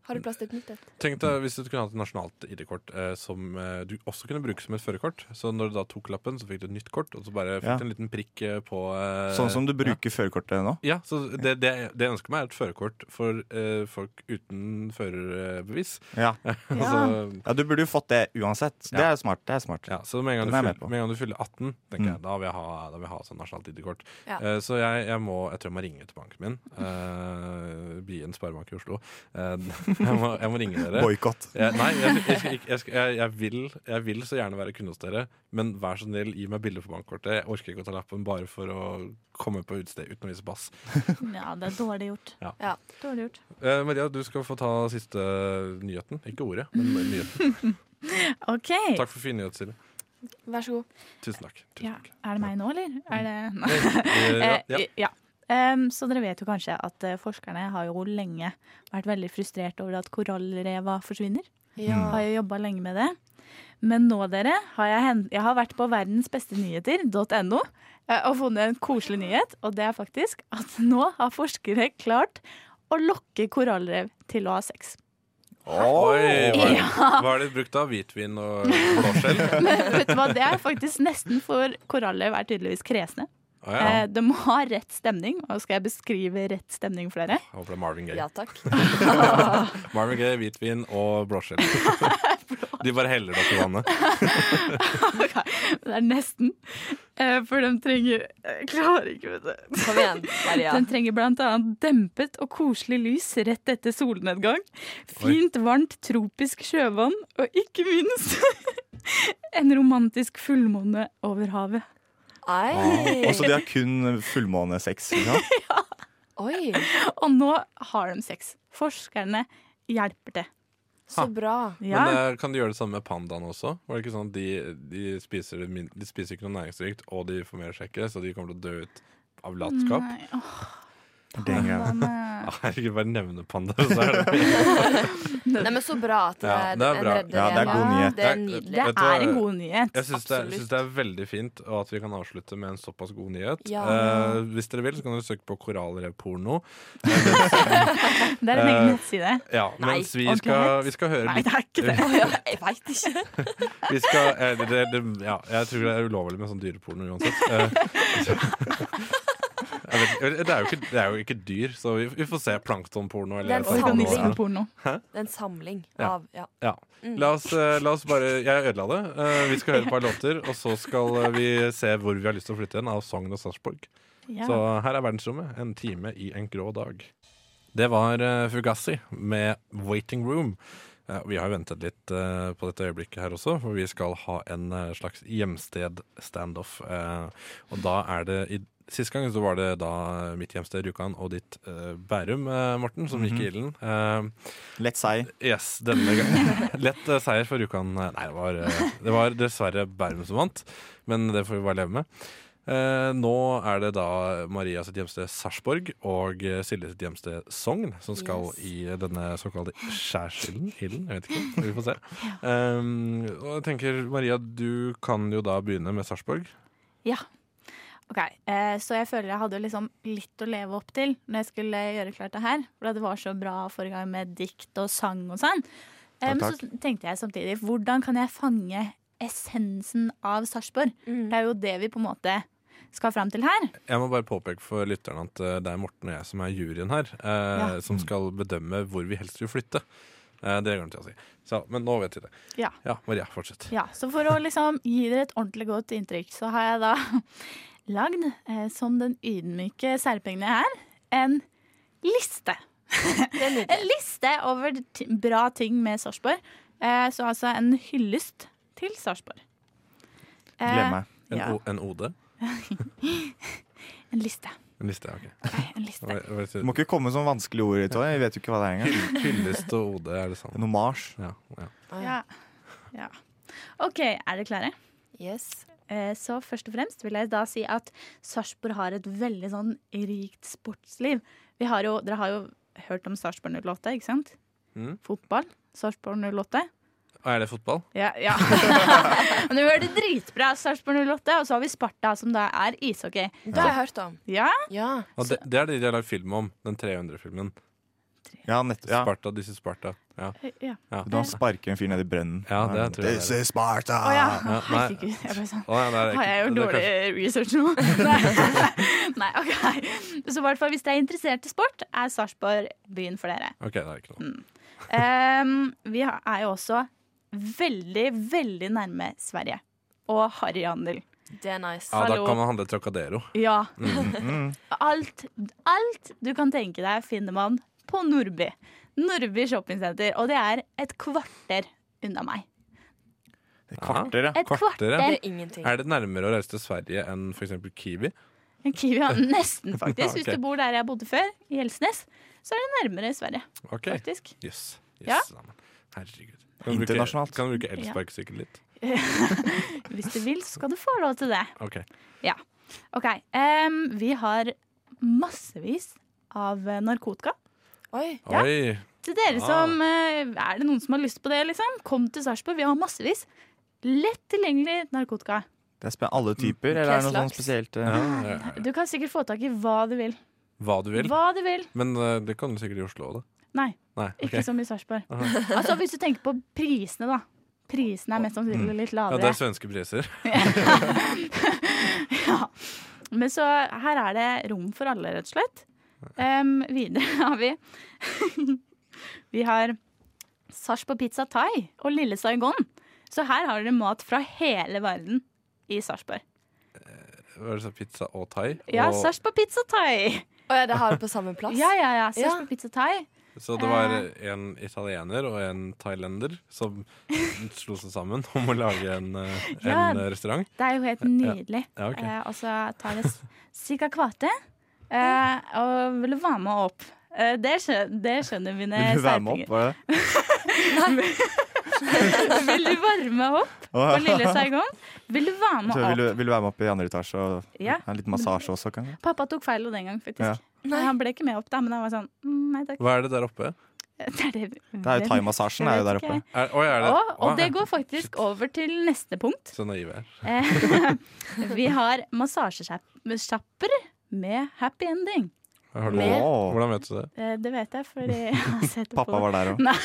har du plass til et nytt et. Tenk deg hvis du kunne hatt et nasjonalt ID-kort eh, som eh, du også kunne bruke som et førerkort. Så når du da tok lappen, så fikk du et nytt kort, og så bare fikk Ja. du en liten prikk eh, på eh, sånn som du ja. bruker førerkortet nå. Ja, så det, det, det jeg ønsker meg, er et førerkort for eh, folk uten førerbevis. Ja. Altså, ja, Du burde jo fått det uansett. Det er smart. det er smart ja, så med en, gang du Den er jeg fyller, med på. med en gang du fyller 18, tenker Mm. jeg, da vil jeg ha, da vil jeg ha sånn nasjonalt ID-kort. Ja. Eh, så jeg, jeg må jeg tror jeg må ringe til banken min. Uh, Bien sparebank i Oslo. Eh, jeg, må, jeg må ringe dere. Boikott. Jeg, nei, jeg, jeg, skal ikke- jeg, skal- jeg, jeg, vil, jeg vil så gjerne være kunde hos dere, men vær så snill, gi meg bilde på bankkortet. Jeg orker ikke å ta lappen bare for å komme på utested uten å vise pass. Ja, det er dårlig gjort. Ja. Ja. Dårlig gjort. Eh, Maria, du skal få ta siste nyheten. Ikke ordet, men nyheten. OK. Takk for fine nyheter, Silje. Vær så god. Tusen takk. Tusen Ja. takk. Er det meg nå, eller? Er det Nei. Eh, Eh, Mm. ja, ja. ja. Em, så dere vet jo kanskje at eh, forskerne har jo lenge vært veldig frustrert over at korallreva forsvinner. Har jo jobba lenge med det. Men nå, dere, har jeg, hen- jeg har vært på verdensbestenyheter.no eh, og funnet en koselig nyhet. Og det er faktisk at nå har forskere klart å lokke korallrev til å ha sex. eh, Oi, hva, er- hva er det brukt av? Hvitvin og blåskjell? Men vet du hva, det er faktisk nesten for korallrev er tydeligvis kresne. Å, ja. Eh, de må ha rett stemning, og skal jeg beskrive rett stemning for dere? Jeg håper det er Marvin Gaye. Ja takk. Marvin Gaye, hvitvin og blåskjell. De bare heller det oppi vannet. Det er nesten. Eh, for de trenger Jeg klarer ikke, vet du. Kom igjen, Maria. Den trenger bl.a. dempet og koselig lys rett etter solnedgang. Fint, varmt, tropisk sjøvann, og ikke minst en romantisk fullmåne over havet. Ei. Også de har kun fullmånesex. ikke sant? Oi, Og nå har de sex. Forskerne hjelper til. så bra. Ja. Men eh, kan de gjøre det samme med pandaene også? Var det ikke sånn at de, de, spiser, det min- de spiser ikke noe næringsrikt, og de får mer sjekke, så de kommer til å dø ut av latskap? Nei, åh, Det er greit. men, Ah, Herregud, bare nevne pandaer, så er det Nei, men så bra at det Ja, er, det er en bra. redder Ja, det er igjen. god nyhet. Det er eh, nydelig. Det Vet du hva? er en god Jeg nyhet. syns det, jeg synes Absolutt. det er veldig fint, og at vi kan avslutte med en såpass god nyhet. Ja. Eh, hvis dere vil, så kan dere søke på korallrevporno. Det er en egen Eh, nettside. Ja, Nei, mens vi ordentlig skal, het. vi skal høre Nei, litt det er ikke det. Å ja, jeg veit ikke. vi skal, eh, det, det, det, ja, Jeg tror det er ulovlig med sånn dyreporno uansett. Eh, jeg vet, ikke, det, er jo ikke, det er jo ikke dyr, så vi, vi får se planktonporno. Det Eller er en hva det nå er. samling. Organismeporno. Det er en samling Ja. av ja. Ja. La, oss, eh, la oss bare Jeg ødela det. Eh, vi skal høre et par låter, og så skal eh, vi se hvor vi har lyst til å flytte hen, av Sogn og Sarpsborg. Ja. Så her er verdensrommet. En time i en grå dag. Det var eh, Fugazi med 'Waiting Room'. Eh, Vi har jo ventet litt eh, på dette øyeblikket her også, for vi skal ha en eh, slags hjemsted-standoff. Eh, og da er det i Sist gang så var det da mitt hjemsted Rjukan og ditt eh, Bærum, eh, Morten, som gikk i ilden. Eh, Lett seier. Yes, denne gangen. Lett eh, seier for Rjukan. Nei, det var, eh, det var dessverre Bærum som vant, men det får vi bare leve med. Eh, nå er det da Maria sitt hjemsted Sarpsborg og eh, Silje sitt hjemsted Sogn som skal Yes. i eh, denne såkalte skjærsilden. Ilden, jeg vet ikke. Vi får se. Um, og jeg tenker, Maria, du kan jo da begynne med Sarpsborg. Ok, eh, Så jeg føler jeg hadde jo liksom litt å leve opp til når jeg skulle gjøre klart det her. For det var så bra forrige gang med dikt og sang og sånn. Eh, Ja, Men takk. så tenkte jeg samtidig hvordan kan jeg fange essensen av Sarpsborg? Det er jo det vi på en måte skal fram til her. Jeg må bare påpeke for lytterne at eh, det er Morten og jeg som er juryen her, eh, Mm. som skal bedømme hvor vi helst vil flytte. Eh, det glemte jeg å si. Så, men nå vet vi det. Ja. ja Maria, fortsett. Ja, Så for å liksom gi dere et ordentlig godt inntrykk, så har jeg da lagd, eh, som den ydmyke særpengene jeg er, en liste. Det er nydelig. En liste over ti- bra ting med Sarpsborg. Eh, så altså en hyllest til Sarpsborg. Eh, Gleder meg. En, ja. o, en OD? Eh, En liste. En liste, ja, ok. Ok, En liste. Hva- hva Du heter må det? ikke komme med sånne vanskelige ord. Tor. Jeg vet jo ikke hva det er engang. Hyllest og OD, er det Det er samme? noe Mars. Ja, ja. Ja. ja. OK, er dere klare? Yes. Eh, Så først og fremst vil jeg da si at Sarpsborg har et veldig sånn rikt sportsliv. Vi har jo, dere har jo hørt om Sarpsborg 08, ikke sant? Mm. Fotball. Sarpsborg 08. Og Er det fotball? Ja, ja. Men du hørte dritbra Sarpsborg 08, og så har vi Sparta, som da er ishockey. Det har jeg hørt om. Ja, Ja. Og det, det er det de har lagd film om. Den 300-filmen. Ja, nett, ja. Sparta, disse Sparta. Ja, ja. ja. Da sparker en fyr ned i brønnen. Ja, det tror jeg This is Sparta! Å ja. Ah, Ja, nei. Herregud. Jeg ble sånn Å, ja, det er Har jeg ikke- gjort det er dårlig kanskje- research nå? Nei. Nei, ok. Så i hvert fall hvis dere er interessert i sport, er Sarpsborg byen for dere. OK, det er ikke Mm. noe. Ehm, vi har- er jo også veldig, veldig nærme Sverige. Og harryhandel. Det er nice. Ja, da Hallo. kan man handle Trocadero. Ja. Mm. Mhm. Alt, alt du kan tenke deg, finner man på Nordby. Nordby shoppingsenter. Og det er et kvarter unna meg. Et kvarter, ja. Et kvarter. Kvarter, Det ja. er ingenting. Er det nærmere å reise til Sverige enn f.eks. Kiwi? En Kiwi ja, nesten, faktisk. Hvis Ok. du bor der jeg bodde før, i Helsnes, så er det nærmere Sverige, OK. faktisk. Jøss. Jøss, Ja. nei, men Herregud. Kan du bruke, Internasjonalt. kan du bruke elsparkesykkel litt? Hvis du vil, så skal du få lov til det. OK. Ok, ehm, Vi har massevis av eh, narkotika. Oi. Ja. Oi! Til dere Ah. som eh, Er det noen som har lyst på det, liksom? Kom til Sarpsborg. Vi har massevis. Lett tilgjengelig narkotika. Det er spen- alle typer, eller er det noe Hva sånn spesielt? eh? Ja, ja. Du kan sikkert få tak i hva du vil. Hva du vil. Hva du vil. Men eh, det kan du sikkert i Oslo òg, da. Nei, Nei, ikke ok. som i Sarpsborg. Altså, hvis du tenker på prisene, da. Mm. Prisene er mest sannsynlig litt Ja, det lavere. er svenske priser. Men så her er det rom for alle, rett og slett. Em, videre har vi Vi har Sars på pizza thai og Lille Saigon. Så her har dere mat fra hele verden i Sarpsborg. Hva er det, så pizza og thai? Ja, og, Sars på pizza thai! Å ja, det har du på samme plass? Ja, ja, ja. Sars Ja. på pizza thai. så det var eh. en italiener og en thailender som slo seg sammen om å lage en, eh, Ja. en restaurant. Det er jo helt nydelig. Ja, ok. Eh, og så tar det cirka kvarte eh, og vil være med opp. Eh, det, skjønner, det skjønner mine Vil du være med serpinger. opp? Var det det? Vil du varme opp på Lille Saigon? Vil du være Så med vil, opp? du, vil du være med opp i andre etasje og Ja. ha en liten massasje også? Kan jeg? Pappa tok feil den gang, faktisk. Ja. Nei. Han ble ikke med opp, da, men han var sånn mm, Nei takk. Hva er det der oppe? Det er, det. Det er jo thaimassasjen er jo der oppe. Er, oi, er det? Og, Å, og det ja. går faktisk over til neste punkt. Så naiv jeg er. Eh, Vi har massasjesjapper med happy ending. Har du- Med- Åh, Hvordan vet du det? Eh, Det vet jeg, fordi jeg har sett det Pappa på var der òg. Nei,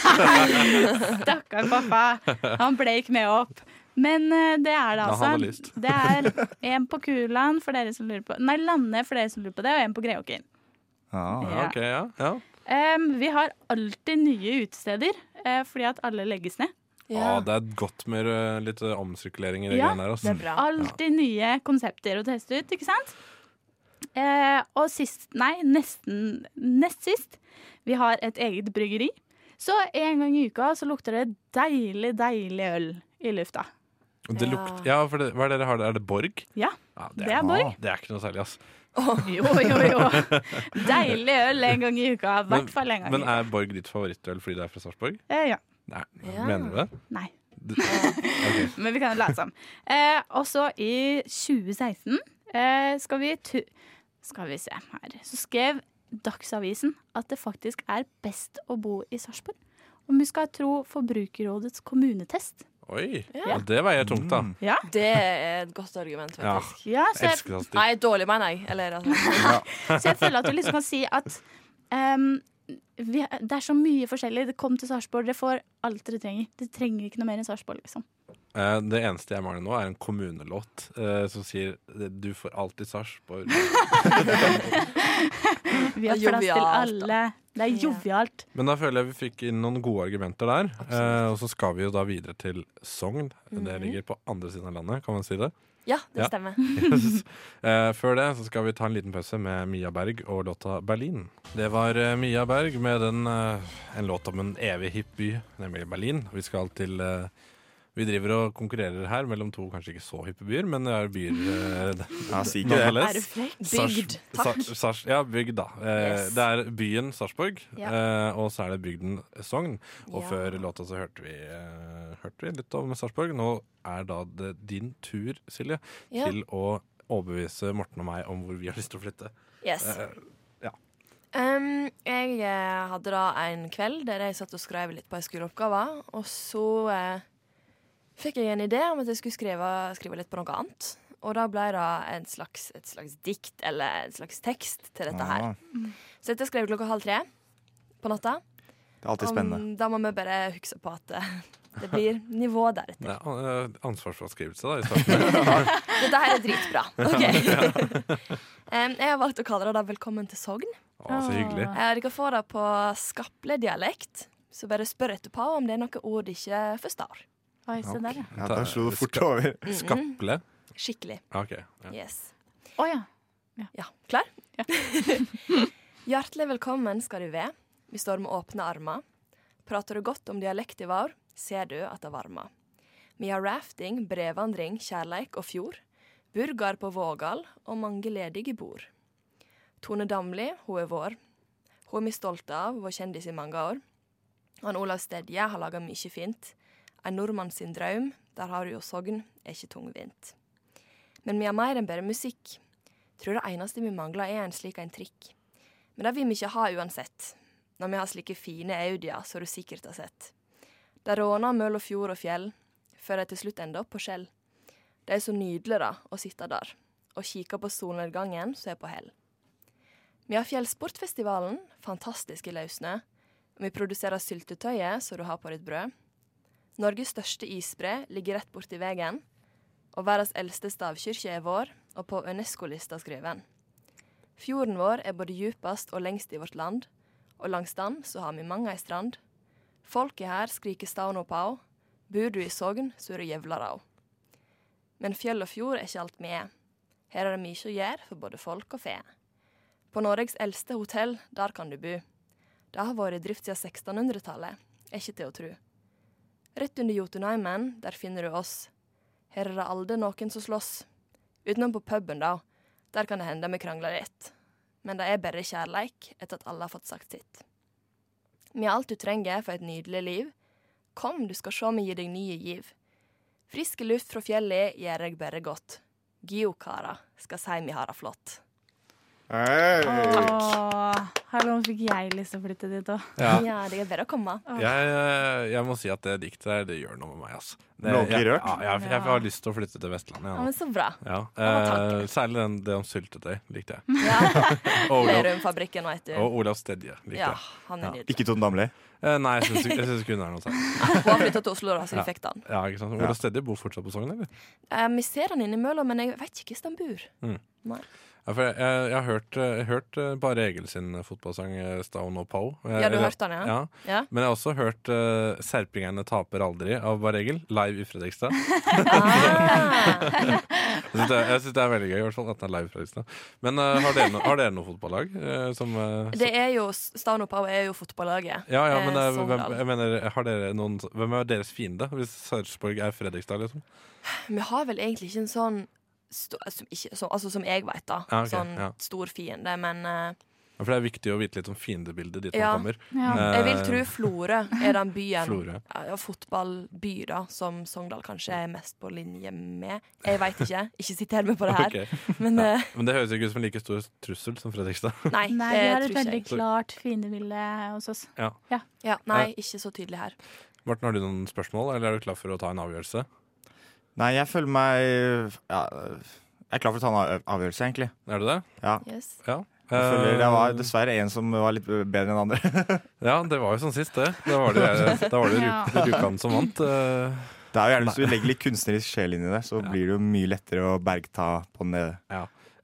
stakkar pappa. Han ble ikke med opp. Men eh, det er det Da han hadde altså. lyst. Det er en på Kulan for dere som lurer på Nei, Lande for dere som lurer på det, og en på Greåker. Mm. Ja. Ja, ok, ja. ja. Em, vi har alltid nye utesteder, eh, fordi at alle legges ned. Å, Ja. det er godt med eh, litt eh, omsirkulering i det Ja, greiene her. Altså. Det er bra. Alltid nye konsepter å teste ut, ikke sant? Eh, og sist, nei, nesten nest sist, vi har et eget bryggeri. Så en gang i uka så lukter det deilig, deilig øl i lufta. Det lukter, ja, for det, hva er det dere har? der? Er det Borg? Ja, Ja, det er Ah. Borg. Det er ikke noe særlig, ass. Jo, jo, jo. Deilig øl en gang i uka. I hvert fall en gang. Men i uka. er Borg ditt favorittøl fordi det er fra Sarpsborg? Eh, ja. Nei, Ja. mener du det? Nei, Ah. Ok. men vi kan jo late som. Eh, og så i 2016 eh, skal vi tu... Skal vi se her. Så skrev Dagsavisen at det faktisk er best å bo i Sarpsborg. Om vi skal tro Forbrukerrådets kommunetest. Oi, ja, det veier tungt, da. Ja, Det er et godt argument, Ja, faktisk. så, jeg jeg, elsker sånn statistikk. Nei, dårlig, mener jeg. Eller altså så jeg føler at du liksom kan si at ehm, vi, det er så mye forskjellig. Det kom til Sarpsborg. Dere får alt dere trenger. Dere trenger ikke noe mer enn Sarpsborg, liksom. Eh, Det eneste jeg mangler nå, er en kommunelåt eh, som sier 'Du får alltid Sarpsborg'. Vi har Det er plass til jovialt, da. alle. Det er Ja. jovialt. Men da føler jeg vi fikk inn noen gode argumenter der. Eh, og så skal vi jo da videre til Sogn. Det ligger på andre siden av landet, kan man si det. Ja, det Ja. stemmer. Yes. Eh, før det så skal vi ta en liten pause med Mia Berg og låta 'Berlin'. Det var eh, Mia Berg med den, eh, en låt om en evig hipp by, nemlig Berlin. Vi skal til eh, Vi driver og konkurrerer her mellom to kanskje ikke så hippe byer, men det er byer eh, Ja, si ikke det. nonetheless. Er du frekk? Sars- Bygd. Sar- Takk. Sars- ja, bygd, da. Eh, Yes. Det er byen Sarpsborg, Ja. eh, og så er det bygden Sogn. Og Ja. før låta så hørte vi, eh, hørte vi litt om Sarpsborg. Nå er da det din tur, Silje, Ja. til å overbevise Morten og meg om hvor vi har lyst til å flytte. Yes. Eh, ja. Um, jeg eh, hadde da en kveld der jeg satt og skrev litt på en skoleoppgave, og så eh, fikk jeg en idé om at jeg skulle skrive, skrive litt på noe annet. Og da ble det en slags, et slags dikt, eller en slags tekst, til dette her. Ah, Så dette skrev jeg klokka halv tre på natta. det er alltid spennende. Um, da må vi bare huske på at eh, det blir nivå deretter. Det er an- eh, ansvarsfraskrivelse, da, i starten. Dette her er dritbra. Ok. um, jeg har valgt å kalle det da 'Velkommen til Sogn'. Å, så hyggelig. Eh, Dere får det på skapledialekt, så bare spør etterpå om det er noen ord de ikke forstår. Oi, se der, ja. Ja, da slo du fort over. Skaple. Skikkelig. Ja, OK. Ja. Yes. Å ja. Ja, klar? Hjertelig velkommen skal du være. Vi står med åpne armer. Prater du godt om dialekten vår, ser du at det varmer. Vi har rafting, brevandring, kjærleik og fjord. Burgar på Vågal og mange ledige bord. Tone Damli, hun er vår. Hun er vi stolte av, vår kjendis i mange år. Han Olav Stedje har laga mye fint. En nordmann sin drøm, der har du jo Sogn, er ikke tungvint. Men vi har mer enn bare musikk. Tror det eneste vi mangler er en slik en trikk. Men det vil vi ikke ha uansett. Når vi har slike fine Audier som du sikkert har sett. De råner møl og fjord og fjell, før de til slutt ender opp på Skjell. Det er så nydelig da, å sitte der, og kikke på solnedgangen som er på hell. Vi har Fjellsportfestivalen, fantastisk i løssnø. Vi produserer syltetøyet som du har på ditt brød. Norges største isbre ligger rett borti veien. Og verdens eldste stavkirke er vår, og på UNESCO-lista skriver han Fjorden vår er både djupest og lengst i vårt land, og langs den så har vi mange ei strand. Folket her skriker staunopau, bor du i Sogn, så er du jævlarau. Men fjell og fjord er ikke alt vi er. Her er det mye å gjøre for både folk og fe. På Norges eldste hotell, der kan du bo. Det har vært i drift siden 1600-tallet, er ikke til å tro. Rett under Jotunheimen, der finner du oss. Her er det aldri noen som slåss. Utenom på puben, da. Der kan det hende vi krangler litt. Men det er bare kjærleik etter at alle har fått sagt sitt. Vi har alt du trenger for et nydelig liv. Kom, du skal sjå vi gir deg nye giv. Friske luft fra fjellet gjør deg bare godt. Geokara skal si vi har det flott. Åh, hallo, nå fikk jeg lyst til å flytte dit òg. Ja. Ja, det er bare å komme. Jeg, eh, jeg må si at det diktet her, det gjør noe med meg. ass. Det, Nå blir jeg, rørt. ja, jeg, jeg, har lyst til å flytte til Vestlandet. Ja, Ja. men så bra. Ja. Ja, Eh, særlig den, det om syltetøy likte jeg. Ja, Og Olav, Lerumfabrikken, veit du. og Olav Stedje likte Ja, jeg. han er nydelig. Ikke Tone Damli. Eh, nei, jeg syns ikke- jeg syns ikke hun er noe særlig. Hun har flytta til Oslo, da, så vi fikk den. Ja, ikke sant? Olav Stedje bor fortsatt på Sogn, eller? Eh, vi ser han innimellom, men jeg vet ikke hvordan han bor. Mm. Ja, for jeg, jeg, jeg har hørt, eh, jeg har hørt eh, Bare Egil sin fotballsang eh, 'Stone og Pow'. Eh, Ja, du eller- hørte han, ja? Ja. Ja. Men jeg har også hørt eh, 'Serpingerne taper aldri' av Bare Egil, live i Fredrikstad. Ah. Jeg syns det, jeg synes det er veldig gøy, i hvert fall at den er live i Fredrikstad. Men eh, har, dere no, har dere noe fotballag? eh, som, eh, Det er jo, Stano Power er jo fotballaget. ja, ja, men eh, eh, hvem, Sogndal. jeg mener, har dere noen, hvem er deres fiende, hvis Sarpsborg er Fredrikstad? liksom? Vi har vel egentlig ikke en sånn sto, som, ikke, som, altså, som jeg vet, da. Ja, ok, sånn ja. stor fiende. Men eh, Ja, For det er viktig å vite litt om fiendebildet dit Ja. man kommer. Ja. jeg vil Eh, tro Florø er den byen Florø. ja, ja, fotballby da som Sogndal kanskje er mest på linje med. Jeg veit ikke. Ikke siter meg på det her. ok. Men eh, Men det høres ikke ut som en like stor trussel som Fredrikstad. nei, Nei, det vi har et tror ikke veldig jeg. klart fiendebilde hos oss. Ja, nei, ikke så tydelig her. Morten, har du noen spørsmål, eller er du klar for å ta en avgjørelse? Nei, jeg føler meg ja, Jeg er klar for å ta en av- avgjørelse, egentlig. Er du det? Yes. Ja. Jeg føler det var Eh, dessverre en som var litt bedre enn andre. ja, det var jo sånn sist, det. Da var det, da var det Ja. Rjukan- Rjukan som vant. eh. Det er jo gjerne Hvis du legger litt kunstnerisk sjel inn i det, så blir det jo mye lettere å bergta på den nede.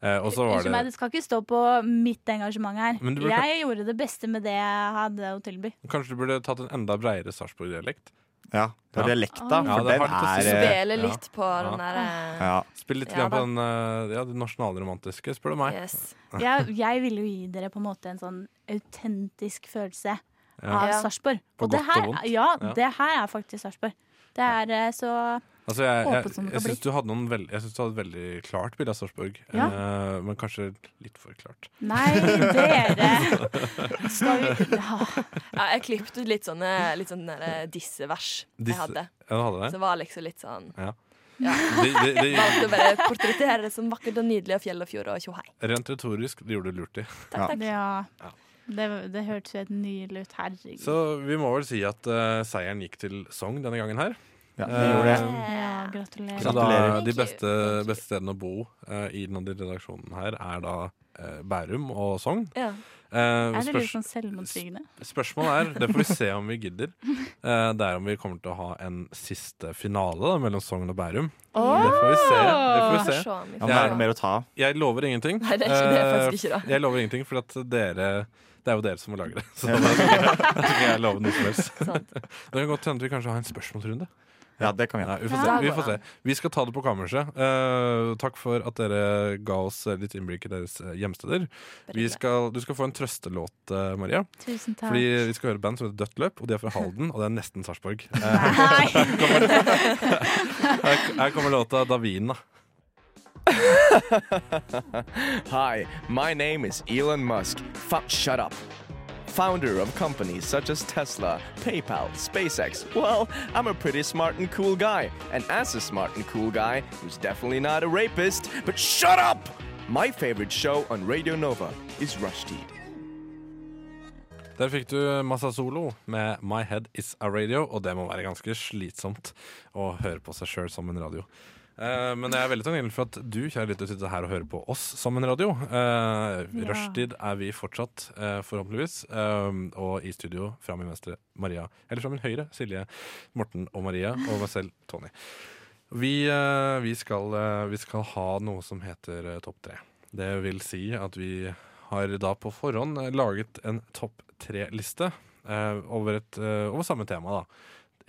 Eh, Og så var Unnskyld meg, det det skal ikke stå på mitt engasjement her. Men du burde- Jeg gjorde det beste med det jeg hadde å tilby. Kanskje du burde tatt en enda bredere Sarpsborg-dialekt? Ja, det var Ja. dialekta, Ja, for det den har litt å si. er eh, Spille ja. litt på den der eh, ja. Spill litt Ja, grann på den, eh, ja, det nasjonalromantiske, spør du meg. Yes. Jeg, jeg ville jo gi dere på en måte en sånn autentisk følelse av Ja. Sarpsborg. På godt det og her, vondt. ja, Ja. det her er faktisk Sarpsborg. Det er eh, så Altså, jeg jeg, Åpent jeg, som sånn det kan syns du hadde noen veld, jeg syns du hadde et veldig klart bilde av Sarpsborg, Ja. eh, men kanskje litt for klart. Nei, dere skal vi ja. Ja, jeg klippet ut litt sånne, litt sånne der, eh, dissevers jeg Disse- hadde. Ja, du hadde Så det? det var liksom litt sånn De, de, de, Valgte å bare portrettere det som vakkert og nydelig av fjell og fjord og tjohei. rent retorisk, det gjorde du lurt i. Takk, takk. ja. Det, det hørtes jo helt nydelig ut. Herregud. Så vi må vel si at eh, seieren gikk til Sogn denne gangen her. ja, vi gjorde det. ja, Eh, Så gratulerer. da, Gratulerer. de beste, beste stedene å bo eh, i den redaksjonen her er da eh, Bærum og Sogn. Ja. Eh, Er det litt spørs, sånn selvmotsigende? spørsmålet er, det får vi se om vi gidder, eh, det er om vi kommer til å ha en siste finale da, mellom Sogn og Bærum. Det får vi se. Det får vi se. Se om vi Ja, får- men er det noe mer å ta av? Jeg lover ingenting. Nei, det er ikke det. Eh, Faktisk ikke, da. jeg lover ingenting, for at dere det er jo dere som må lage det. Så da skal ikke jeg- da skal ikke jeg love noe som helst. Sant. Det kan godt hende vi kanskje har en spørsmålsrunde. Ja, det kan vi gjøre. Nei, vi, får Ja. se. Der vi går får se. den. Vi skal ta det på kammerset. Eh, takk for at dere ga oss eh, litt innblikk i deres eh, hjemsteder. Vi skal, du skal få en trøstelåt, eh, Maria. Tusen takk. Fordi Vi skal høre et band som heter Dødt løp, og de er fra Halden. Og det er nesten Sarpsborg. Eh, Nei! Her, her kommer låta 'Davina'. Hi, my name is Elon Musk. Fuck, shut up. Founder of companies such as Tesla, PayPal, SpaceX. Well, I'm a pretty smart and cool guy. And as a smart and cool guy, who's definitely not a rapist, but shut up! My favorite show on Radio Nova is Rushdie. Der fikk du Massa Solo med 'My Head Is A Radio', og det må være ganske slitsomt å høre på seg sjøl som en radio. Eh, men jeg er veldig takknemlig for at du kjære lytter, sitter her og hører på oss som en radio. Uh, Ja. Rushtid er vi fortsatt, eh, forhåpentligvis. Eh, og i studio fra min venstre Maria, eller fra min høyre Silje, Morten og Maria, og meg selv Tony. Vi, eh, vi, skal, eh, vi skal ha noe som heter eh, Topp tre. Det vil si at vi har da på forhånd eh, laget en topp tre-liste eh, over, et, eh, over samme tema. da.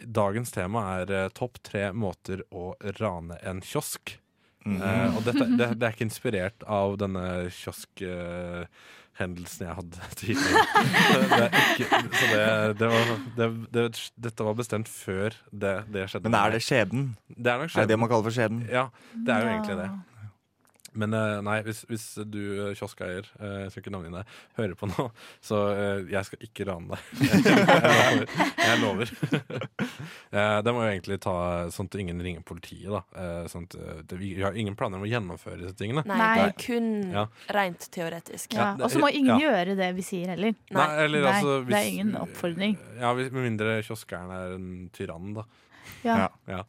Dagens tema er eh, topp tre måter å rane en kiosk. Mm. Eh, og dette, det, det er ikke inspirert av denne kioskhendelsen hendelsen jeg hadde tidligere. det er ikke, så det, det var, det, det, dette var bestemt før det, det skjedde. Men er det skjeden? Det er nok Er det det skjebnen. man kaller for skjeden? Ja, det er jo Ja. egentlig det. Men eh, nei, hvis, hvis du eh, kioskeier, eh, jeg skal ikke navngi deg, hører på nå, så eh, jeg skal ikke rane deg. jeg lover. Jeg lover. Eh, det må jo egentlig ta sånn at ingen ringer politiet, da. Eh, sånn at eh, det, vi har ingen planer om å gjennomføre disse tingene. Nei, Nei. det er kun Ja. rent teoretisk. Ja. Ja, det- Og så må ingen ja. gjøre det vi sier heller. Nei, eller Nei, altså det er ingen oppfordring. Ja, hvis, Med mindre kioskeieren er en tyrann, da. Ja. Ja. Ja.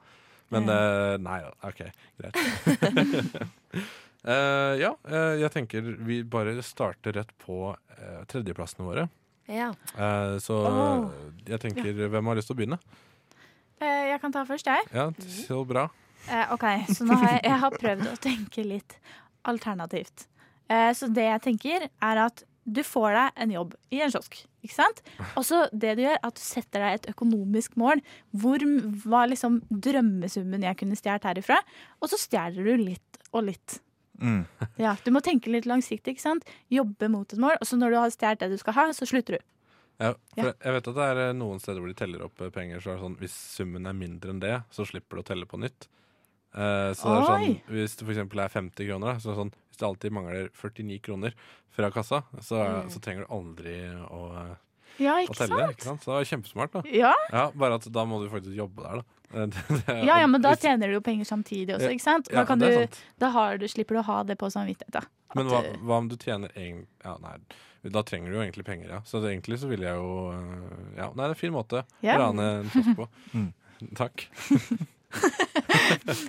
Men eh, Nei da. OK, greit. Eh, ja, eh, jeg tenker vi bare starter rett på eh, tredjeplassene våre. Ja. Eh, så Oh. jeg tenker Hvem har lyst til å begynne? Eh, Jeg kan ta først, jeg. Ja, Mhm. Så bra. Eh, ok, så nå har jeg, jeg har prøvd å tenke litt alternativt. Eh, så det jeg tenker er at du får deg en jobb i en kiosk, ikke sant? Og så det du gjør, at du setter deg et økonomisk mål. Hvor m- var liksom drømmesummen jeg kunne stjålet herifra? Og så stjeler du litt og litt. Mm. Ja, Du må tenke litt langsiktig, ikke sant? Jobbe mot et mål, og så når du har stjålet det du skal ha, så slutter du. Ja, for Ja. Jeg vet at det er eh, noen steder hvor de teller opp eh, penger. Så er det sånn, Hvis summen er mindre enn det, så slipper du å telle på nytt. Eh, så det er sånn, Oi. Hvis det f.eks. er 50 kroner, da, så er det sånn, hvis det alltid mangler 49 kroner fra kassa, så, Mm. er- så trenger du aldri å, eh, Ja, å ikke telle. sant? Ikke sant? Så det er kjempesmart. da Ja, Ja, Bare at da må du faktisk jobbe der, da. Eh, det- det er- ja, ja, men da hvis- tjener du jo penger samtidig også, Ja, ikke sant? Da, ja, kan du, det er sant. da har du, slipper du å ha det på samvittigheten. at eh, Men hva, du- hva om du tjener egen- Ja, nei, da trenger du jo egentlig penger, ja. Så det, egentlig så ville jeg jo eh, Ja, nei, det er en fin måte eh, Ja. å rane en kiosk på. Mm. Takk.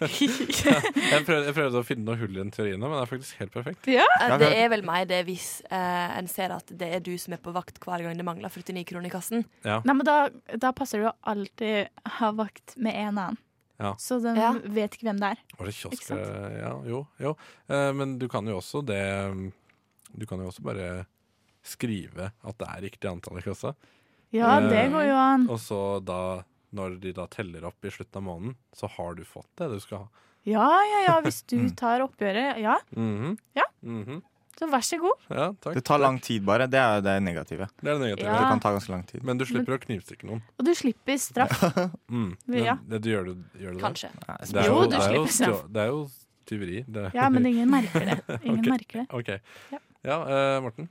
Jeg prøvde, jeg prøvde å finne noe hull i den teorien, nå, men det er faktisk helt perfekt. Eh, Det er vel meg det hvis eh, en ser at det er du som er på vakt hver gang det mangler 49 kroner i kassen. Ja, Nei, men da, da passer det jo alltid ha vakt med en annen. Ja. Så den Ja. vet ikke hvem det er. Var det Ikke kiosk sant? eh, Ja, jo. jo. Eh, Men du kan jo også det mm, Du kan jo også bare skrive at det er riktig antall i kassa, Ja, Eh, det går jo an. og så da når de da teller opp i slutten av måneden, så har du fått det du skal ha. Ja, ja, ja, hvis du Mm. tar oppgjøret, ja. Mhm. Ja. Mhm. Så vær så god. Ja, takk. Det tar lang tid, bare. Det er jo det negative. Det er det negative. Ja. Det kan ta ganske lang tid. Men du slipper å knivstikke noen. Og du slipper straff. Mm. Men ja. Det, det, du gjør det, gjør det Kanskje. Det Det er Jo, jo, du det er jo, slipper straff. stjå- det er jo tyveri. Det. Ja, men ingen merker det. Ingen Ok. merker det. OK. Ja. Ja, eh, Morten.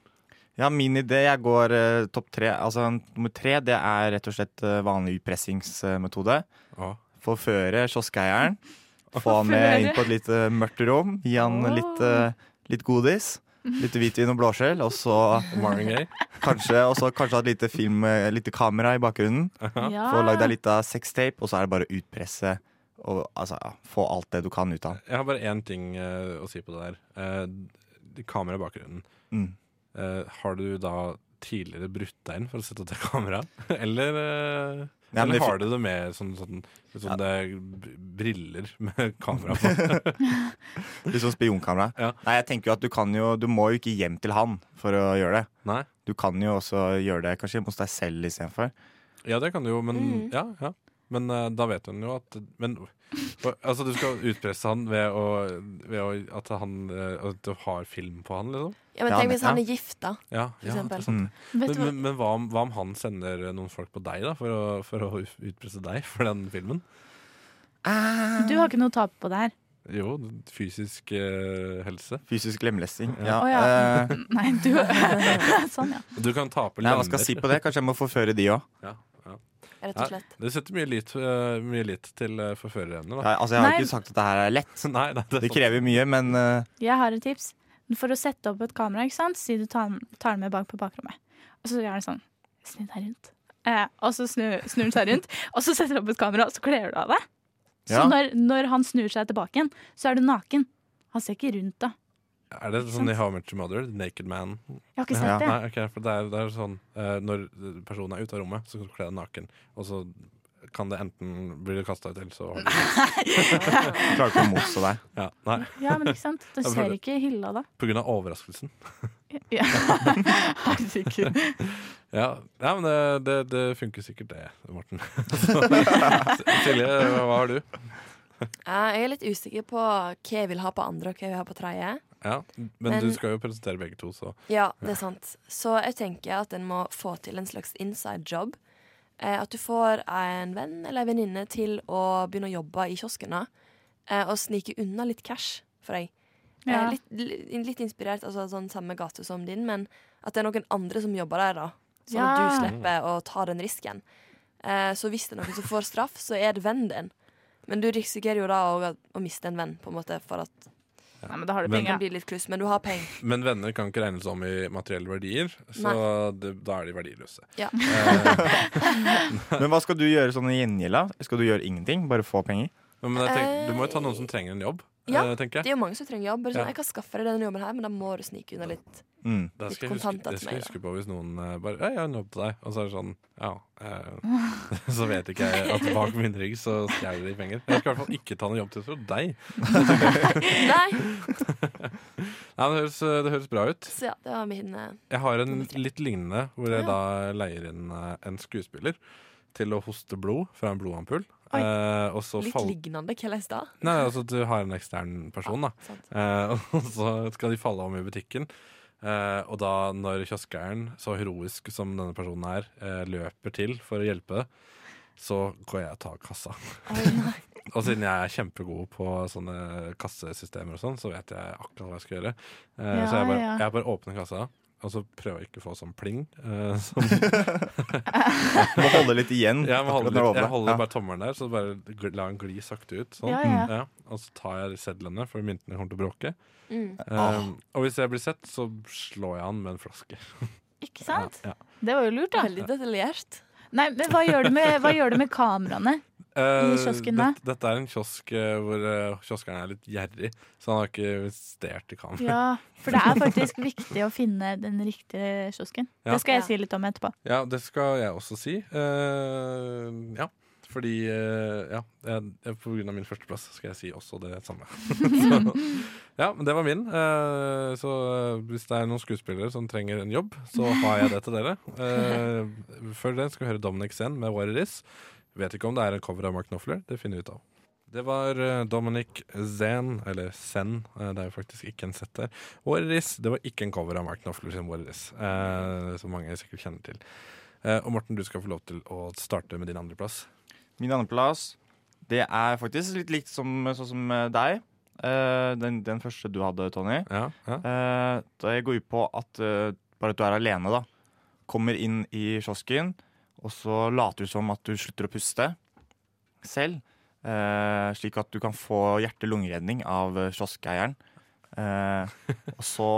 Ja, min idé, jeg går eh, topp tre. Altså, nummer tre, det er rett og slett eh, vanlig utpressingsmetode. Ja. Forføre kioskeieren. Få han med inn på et litt eh, mørkt rom. Gi han Åh. litt, eh, litt godis. Litt hvitvin og blåskjell, og så Marvin Gaye. kanskje, og så kanskje ha et lite, film, eh, lite kamera i bakgrunnen. Ja. Få lagd deg litt av sextape, og så er det bare å utpresse. Og altså, ja, få alt det du kan ut av han. Jeg har bare én ting eh, å si på det der. Eh, kamera i bakgrunnen. Mm. Eh, har du da tidligere brutt deg inn for å sette opp det kameraet? eller eh, Ja, men eller det har du det med sånn, sånn, sånn det er br- briller med kamera på? Litt sånn spionkamera. Ja. Nei, jeg tenker jo at du kan jo Du må jo ikke hjem til han for å gjøre det. Nei? Du kan jo også gjøre det kanskje hos deg selv istedenfor. Ja, det kan du jo, men Ja, ja. Men eh, da vet hun jo at men, og, Altså, du skal utpresse han ved å, ved å at han eh, At du har film på han, liksom? Ja, men Ja, tenk men- hvis han ja. er gift, da. Ja, For ja det eksempel. er Mm. sant. Vet Men, du hva? men, men hva, om, hva om han sender eh, noen folk på deg, da, for å, for å utpresse deg for den filmen? Du har ikke noe å tape på det her. Jo, fysisk eh, helse. Fysisk lemlesting. Ja. Å, ja. eh, Nei, du Sånn, ja. Du kan tape nei, lemmer. hva skal jeg si på det? Kanskje jeg må forføre de òg. Ja, ja. Rett Ja. og slett. Du setter mye lit, eh, mye lit til uh, forførerevne, da. Altså, jeg har Nei. ikke sagt at det her er lett. Nei, nei, det er sånn- Det sant. krever mye, men eh, Jeg har et tips. For å sette opp et kamera, ikke sant? si du tar, tar den med bak på bakrommet. Og så gjør den sånn. Snu deg rundt. Eh, og så snu, snur den seg rundt, og så setter du opp et kamera, og så kler du av deg. Så Ja. når, når han snur seg tilbake igjen, så er du naken. Han ser ikke rundt da. Er det sånn i How Much Mother? Naked Man? Jeg har ikke Ja. sett det. Nei, ok, for det er, det er sånn eh, Når personen er ute av rommet, så kan du kle deg naken. Og så kan det enten bli kasta ut, eller så har du Klarer ikke å motstå deg. ja, Nei, Ja, men ikke sant? Du Jeg ser føler- ikke hylla da. på grunn av overraskelsen. Ja. Herregud. Ja, ja men det, det, det funker sikkert, det, Morten. Så, Silje, hva har du? Eh, Jeg er litt usikker på hva jeg vil ha på andre, og hva jeg vil ha på tredje. Ja, men, du Men- skal jo presentere begge to, så Ja, det er sant. Så jeg tenker at en må få til en slags inside job. Eh, at du får en venn eller en venninne til å begynne å jobbe i kioskene eh, og snike unna litt cash for deg. Ja. Eh, litt, li- litt inspirert, altså sånn samme gate som din, men at det er noen andre som jobber der, da. Sånn at Ja. du slipper å ta den risken. Eh, så hvis det er noen som får straff, så er det vennen din. Men du risikerer jo da å, å miste en venn, på en måte, for at Nei, men da har du Men- det penger. blir litt kluss. Men du har penger. Men venner kan ikke regnes om i materielle verdier, så det, da er de verdiløse. Eh, Ja. Men hva skal du gjøre sånn i gjengjeld? da? Skal du gjøre ingenting? Bare få penger? Men jeg tenker, du må jo ta noen som trenger en jobb, Eh, Ja, eh, tenker Det jeg. er jo mange som trenger jobb. Bare sånn, Ja. Jeg kan skaffe deg denne jobben her, men da må du snike unna litt. Mm. Det litt skal jeg huske, kontanter det til skal jeg meg, da. huske på hvis noen eh, bare «Hei, 'Jeg har en jobb til deg', og så er det sånn Ja. eh, så vet ikke jeg at bak min rygg så stjeler de penger. Jeg skal i hvert fall ikke ta noen jobbtips fra deg. Nei, Nei, men det høres, eh, det høres bra ut. så ja, det var min eh, Jeg har en litt lignende, hvor jeg da leier inn eh, en skuespiller til å hoste blod fra en blodampull. Oi. eh, og så litt fall- lignende Hva leste jeg? Nei, altså du har en ekstern person, da. sant. Eh, og så skal de falle om i butikken. Eh, og da når kioskeieren, så heroisk som denne personen er, eh, løper til for å hjelpe, så går jeg og tar kassa. og siden jeg er kjempegod på sånne kassesystemer og sånn, så vet jeg akkurat hva jeg skal gjøre. Eh, Ja, så jeg bare, ja. jeg bare åpner kassa. Og så prøver jeg ikke å få sånn pling. eh, som, Må holde litt igjen. jeg, må holde akkurat når du litt, jeg åpner. holder Ja. bare tommelen der, så bare gl- la den gli sakte ut. Sånn. Ja, ja. Ja, og så tar jeg sedlene, for myntene kommer til å bråke. Um, og hvis jeg blir sett, så slår jeg han med en flaske. Ikke sant? Ja, ja. Det var jo lurt, da. Veldig detaljert. Nei, men hva gjør du med, hva gjør du med kameraene? Eh, kiosken dette- dette er en kiosk eh, hvor eh, kioskeren er litt gjerrig, så han har ikke investert i kamera. Ja. Ja, for det er faktisk viktig å finne den riktige kiosken. Ja. Det skal jeg Ja. si litt om etterpå. det skal jeg også si. Eh, ja. Fordi eh, Ja, jeg, jeg- på grunn av min førsteplass skal jeg si også det samme. så, ja, men det var min. Eh, så eh, hvis det er noen skuespillere som trenger en jobb, så har jeg det til dere. Eh, før det skal vi høre Dominic Zen med What It Is. Vet ikke om det er en cover av Mark Knopfler. Det finner vi ut av. Det var eh, Dominic Zen, eller Zen, eh, det er jo faktisk ikke en Z der. What It Is, det var ikke en cover av Mark Knopfler sin What It Is, eh, som mange sikkert kjenner til. Eh, og Morten, du skal få lov til å starte med din andreplass. Min andreplass, det er faktisk litt likt som, sånn som deg. Eh, den, den første du hadde, Tony. Ja, ja. Eh, det går ut på at eh, bare at du er alene, da. Kommer inn i kiosken, og så later du som at du slutter å puste selv. eh, slik at du kan få hjerte-lungeredning av eh, kioskeieren. Eh, og så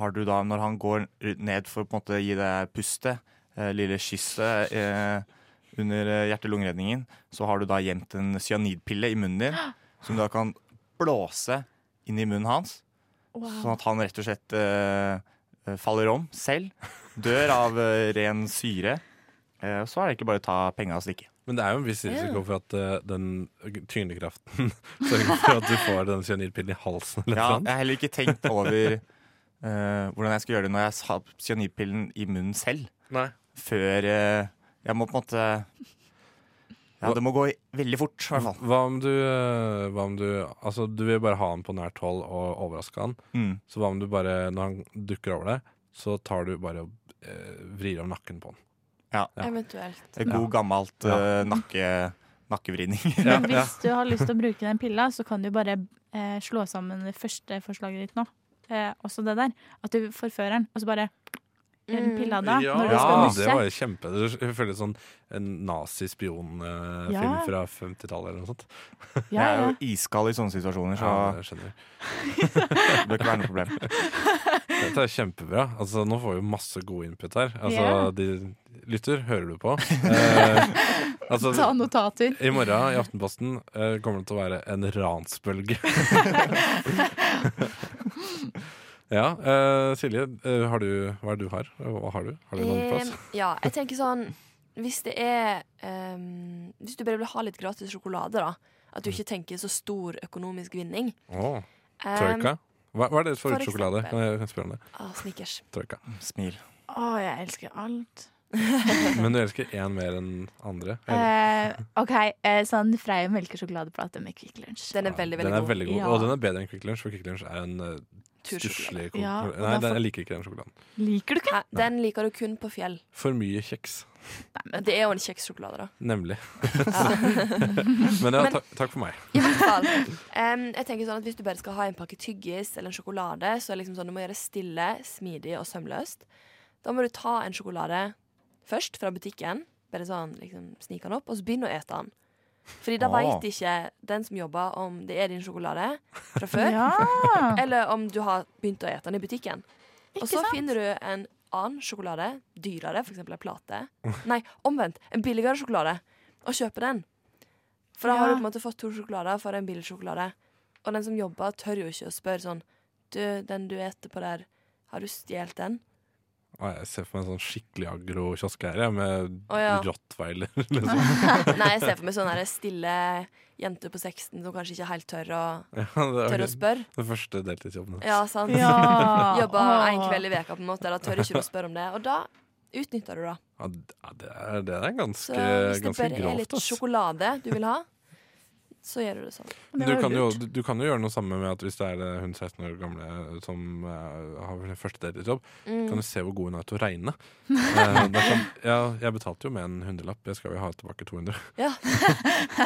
har du da, når han går ned for å på en måte gi deg pustet, eh, lille kysset eh, under eh, hjerte-lungeredningen, så har du da gjemt en cyanidpille i munnen din, som du da kan blåse inn i munnen hans. Sånn at han rett og slett eh, eh, faller om selv. Dør av eh, ren syre. Eh, så er det ikke bare å ta penga og stikke. Men det er jo en viss risiko for at eh, den tyngdekraften sørger for at du får den cyanidpillen i halsen. Eller Ja, ja, jeg har heller ikke tenkt over eh, hvordan jeg skal gjøre det når jeg har cyanidpillen i munnen selv. Nei. Før eh, Jeg må på en måte Ja, det må gå i- veldig fort, i hvert fall. Hva om du, eh, hva om du Altså, du vil bare ha han på nært hold og overraske han. Mm. Så hva om du bare, når han dukker over deg, så tar du bare og eh, vrir av nakken på han. Ja. Eventuelt. Et god, gammelt eh, nakke, nakkevridning. Ja, Men ja. hvis du har lyst til å bruke den pilla, så kan du bare eh, slå sammen det første forslaget ditt nå. Eh, også det der. At du forfører den, og så bare gjør Mm. den pilla da. når du skal Ja, det nusse. var jo kjempe Det føles sånn en nazispionfilm Ja. fra 50-tallet eller noe sånt. Jeg Ja, er ja. jo iskald i sånne situasjoner, Ja, så jeg skjønner. det bør ikke være noe problem. Dette er kjempebra. Altså, nå får vi masse god input her. Altså, Ja. de lytter, hører du på? Eh, altså, Ta notater. I morgen i Aftenposten eh, kommer det til å være en ransbølge. ja, eh, Silje, eh, har du, hva er det du har? Hva har du? Har du en andreplass? Eh, ja, jeg tenker sånn hvis det er ehm, Hvis du bare vil ha litt gratis sjokolade, da. Mm. At du ikke tenker så stor økonomisk vinning. Åh, Ehm, Troika? Hva, hva er deres for favorittsjokolade? eksempel. Kan jeg kan jeg spørre om det? ah, Snickers. Troika. Smil. Å, jeg elsker alt. Men du elsker én mer enn andre? eller? Eh, OK, eh, sånn Freia melkesjokoladeplate med Kvikk Lunsj. Den er veldig, veldig den er god. veldig god. Ja. Og den er bedre enn Quick Lunch, for Quick Lunch er en eh, stusslig Tursjokolade. kon- Ja, og Nei, derfor- den, jeg liker ikke den sjokoladen. Liker du ikke? Nei, den liker du kun på fjell. For mye kjeks. Det er jo en kjekssjokolade, da. Nemlig. Men ja, Men- ta, takk for meg. I hvert fall. Em, jeg tenker sånn at Hvis du bare skal ha en pakke tyggis eller en sjokolade, så er det liksom sånn du må gjøre det stille, smidig og sømløst. Da må du ta en sjokolade først fra butikken, bare sånn liksom snike den opp, og så begynne å ete den. Fordi da Ah. veit ikke den som jobber, om det er din sjokolade fra før, Ja. eller om du har begynt å ete den i butikken. Og Ikke så sant? finner du en annen sjokolade, dyrere, f.eks. en plate. Nei, omvendt. En billigere sjokolade. Og kjøper den. For da har Ja. du på en måte fått to sjokolader for en billig sjokolade. Og den som jobber, tør jo ikke å spørre sånn Du, den du eter på der, har du stjålet den? Å, jeg ser for meg en sånn skikkelig agro-kiosk her, jeg, med Å, ja. rottweiler. Liksom. Nei, jeg ser for meg sånn der stille jente på 16 som kanskje ikke helt tør Ja, å, det, tør å er spørre. den første deltidsjobben. Ja, sant? Ja. Jobber Åh. en kveld i veka på en måte. Da tør ikke du å spørre om det. Og da utnytter du det. Ja, d- ja, det, er, det er Så ganske, hvis det ganske bare er grovt. litt ass. sjokolade du vil ha, så gjør du det sånn. Det Du var kan, jo, lurt. du, du kan jo gjøre noe samme med at hvis det er eh, hun 16 år gamle som eh, har sin første deltidsjobb, Mm. Mm. kan du se hvor god hun er til å regne. Eh, det er sånn, ja, jeg betalte jo med en hundrelapp, jeg skal jo ha tilbake 200. Ja.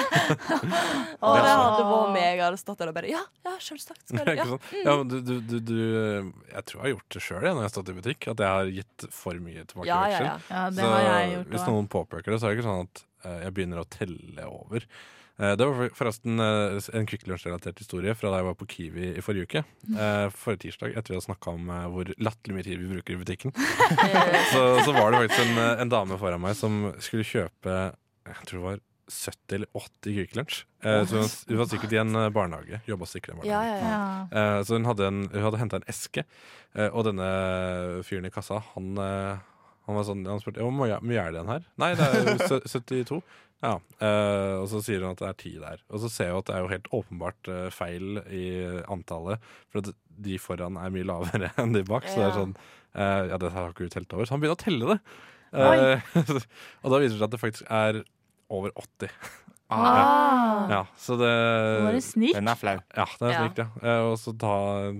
Åh. det hadde vært meg. Jeg hadde stått der og bare Ja, ja, selvsagt. Skal du, Ikke ja. sant? Ja, men du, du, du, du, eh, jeg tror jeg har gjort det sjøl når jeg har stått i butikk, at jeg har gitt for mye tilbake. i ja, ja, veksel. ja. Ja, det Så har jeg gjort Hvis også. noen påpeker det, så er det ikke sånn at eh, jeg begynner å telle over. Eh, det var for- forresten eh, en Kvikk Lunsj-relatert historie fra da jeg var på Kiwi i forrige uke. Eh, forrige tirsdag, etter vi hadde snakka om eh, hvor latterlig mye tid vi bruker i butikken, Eh, så, altså. så var det faktisk en, eh, en dame foran meg som skulle kjøpe Jeg tror det var 70 eller 80 Kvikk Lunsj. Eh, så hun, hun var sikkert i en eh, barnehage. Jobba sikkert i en barnehage. ja, ja, ja. Ja. Eh, Så hun hadde, en- hun hadde henta en eske, eh, og denne fyren i kassa, han, eh, han var sånn Han spurte «Ja, hvor mye hvor mye er det igjen her. Nei, det er jo sø- 72. Ja, eh, Og så sier hun at det er ti der. Og så ser jeg jo at det er jo helt åpenbart eh, feil i antallet, for at de foran er mye lavere enn de bak. Så det er Ja. sånn eh, Ja, det har ikke hun telt over. Så han begynner å telle det. Oi. Eh, og da viser det seg at det faktisk er over 80. Ah. Ja, Eh, så Var det det snik? Den er flau. ja, det er Ja. slik, ja. Eh, Og så ta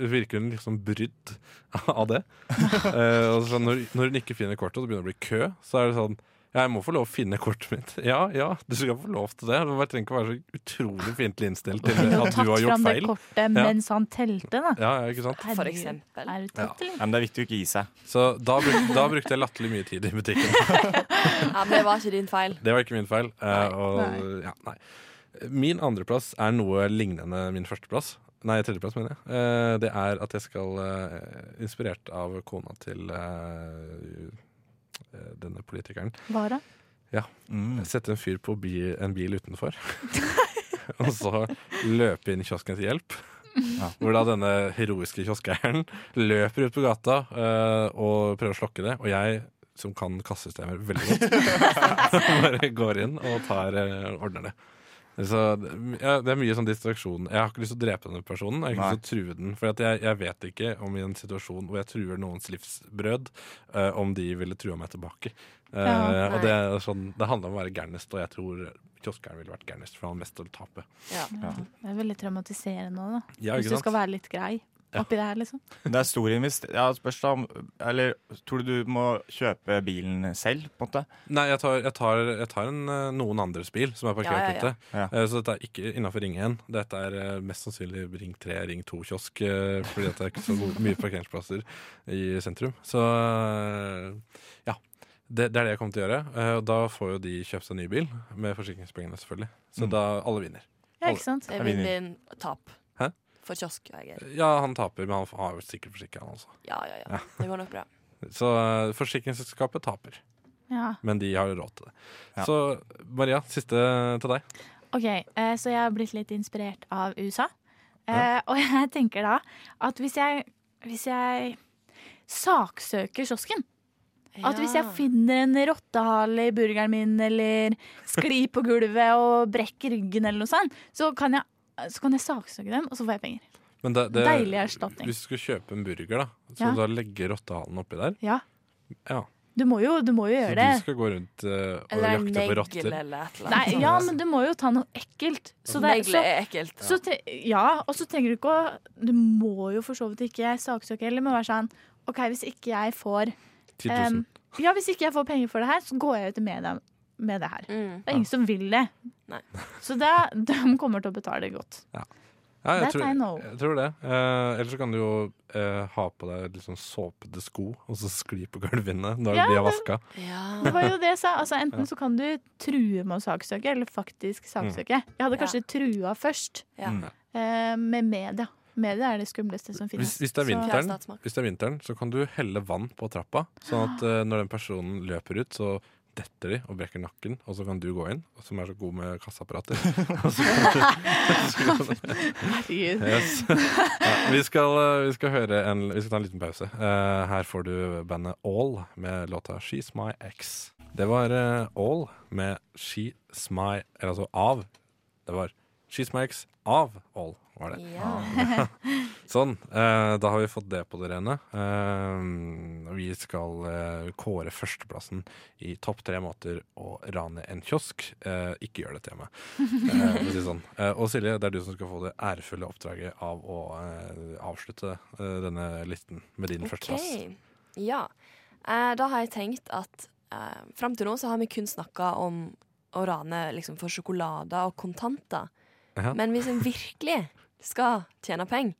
Virker hun liksom brydd av det. Eh, og så sånn, når, når hun ikke finner kortet, og det begynner å bli kø, så er det sånn jeg må få lov å finne kortet mitt. Ja, ja, du skal få lov til det. Men jeg trenger ikke å være så utrolig fiendtlig innstilt til Kunne jo at tatt du har gjort fram det feil. kortet mens han telte, da. Ja, ja, ikke sant? For Herregud. eksempel. Er du tatt, eller? Ja, men det er viktig å ikke gi seg. Så da, bruk, da brukte jeg latterlig mye tid i butikken. ja, men det var ikke din feil. Det var ikke min feil. Eh, Nei, og, ja, nei. Min andreplass er noe lignende min førsteplass. Nei, tredjeplass, mener jeg. Eh, Det er at jeg skal, eh, inspirert av kona til eh, eh, denne politikeren, Bare. Mm. sette en fyr på bi, en bil utenfor. og så løpe inn i kiosken til hjelp. Ja. Hvor da denne heroiske kioskeieren løper ut på gata eh, og prøver å slokke det. Og jeg, som kan kassesystemer veldig godt, bare går inn og tar eh, ordner det. Så ja, Det er mye sånn distraksjon. Jeg har ikke lyst til å drepe denne personen. Jeg har ikke lyst til å true den For at jeg, jeg vet ikke om i en situasjon hvor jeg truer noens livsbrød, eh, om de ville trua meg tilbake. Eh, Ja, og det, er sånn, det handler om å være gærnest, og jeg tror kioskeren ville vært gærnest, for han har mest å tape. Ja. Det er veldig traumatiserende òg, da. Ja, Hvis ikke du skal sant? være litt grei oppi det her, liksom. Men Det er stor investering. Ja, spørs da om Eller tror du du må kjøpe bilen selv, på en måte? Nei, jeg tar, jeg tar, jeg tar en, eh, noen andres bil som er parkert Ja, ja, ja. ute. Ja. Eh, Så dette er ikke innafor Ring 1. Dette er eh, mest sannsynlig Ring 3, Ring 2-kiosk, fordi at det er ikke så god- mye parkeringsplasser i sentrum. Så eh, ja. Det, det er det jeg kommer til å gjøre. Eh, Og da får jo de kjøpt seg ny bil, med forsikringspengene selvfølgelig. Så Mm. da alle vinner. Ja, ikke sant? Det er vinn-vinn tap. Hæ? For kioskeier. Ja, han taper, men han har jo sikkert forsikring, han også. Ja, ja, ja. Det går nok bra. Så eh, forsikringsselskapet taper. Ja. men de har jo råd til det. Ja. Så Maria, siste til deg. Ok, eh, så jeg har blitt litt inspirert av USA. Eh, Og jeg tenker da at hvis jeg, hvis jeg saksøker kiosken, At hvis jeg Ja. finner en rottehale i burgeren min, eller sklir på gulvet og brekker ryggen, eller noe sånt, så kan jeg, så kan jeg saksøke dem, og så får jeg penger. Men det, det, Deilig erstatning. Hvis du skulle kjøpe en burger, da, så Ja. da legger rottehalen oppi der. Ja. Ja. Du må jo, du må jo Så gjøre du det. skal gå rundt eh, og Eller en jakte på negl rotter. eller et eller Nei, annet. ja, men du må jo ta noe ekkelt. Så det, Negler så, er ekkelt. så tre, ja, og så trenger du ikke å Du må jo for så vidt ikke saksøke heller, men være sånn OK, hvis ikke jeg får 10 000. em, Ja, hvis ikke jeg får penger for det her, så går jeg ut i media med det her. Mm. Det er ingen som vil det. Nei. Så det, de kommer til å betale godt. ja, jeg that tror, I know. jeg tror det. Eh, ellers så kan du jo eh, ha på deg litt sånn såpete sko, og så skli på gulvene når Ja, de har det- vaska. Det Ja. var jo det jeg sa. Altså, enten så kan du true med å saksøke, eller faktisk Mm. saksøke. Jeg hadde kanskje trua først Ja. eh, med media. Media er det skumleste som finnes. Hvis, hvis, det er Så- Fjær vinteren, statsmakt. hvis det er vinteren, så kan du helle vann på trappa, sånn at eh, når den personen løper ut, så detter de og brekker nakken, og så kan du gå inn, og som er så god med kassaapparater. Og så kan du- Herregud. Yes. Ja, vi, skal, eh, vi, skal høre en, vi skal ta en liten pause. Eh, her får du bandet All med låta She's My Ex. Det var eh, All med She's My Eller altså av. Det var She's My Ex av All, var det. Ja. Sånn. eh, da har vi fått det på det rene. Eh, og vi skal eh, kåre førsteplassen i topp tre måter å rane en kiosk. Eh, ikke gjør det til meg. Eh, for å si sånn. Eh, og Silje, det er du som skal få det ærefulle oppdraget av å eh, avslutte eh, denne listen med din førsteplass. Ok. Ja. Eh, da har jeg tenkt at eh, fram til nå så har vi kun snakka om å rane liksom, for sjokolader og kontanter. Ja. Men hvis en virkelig skal tjene penger,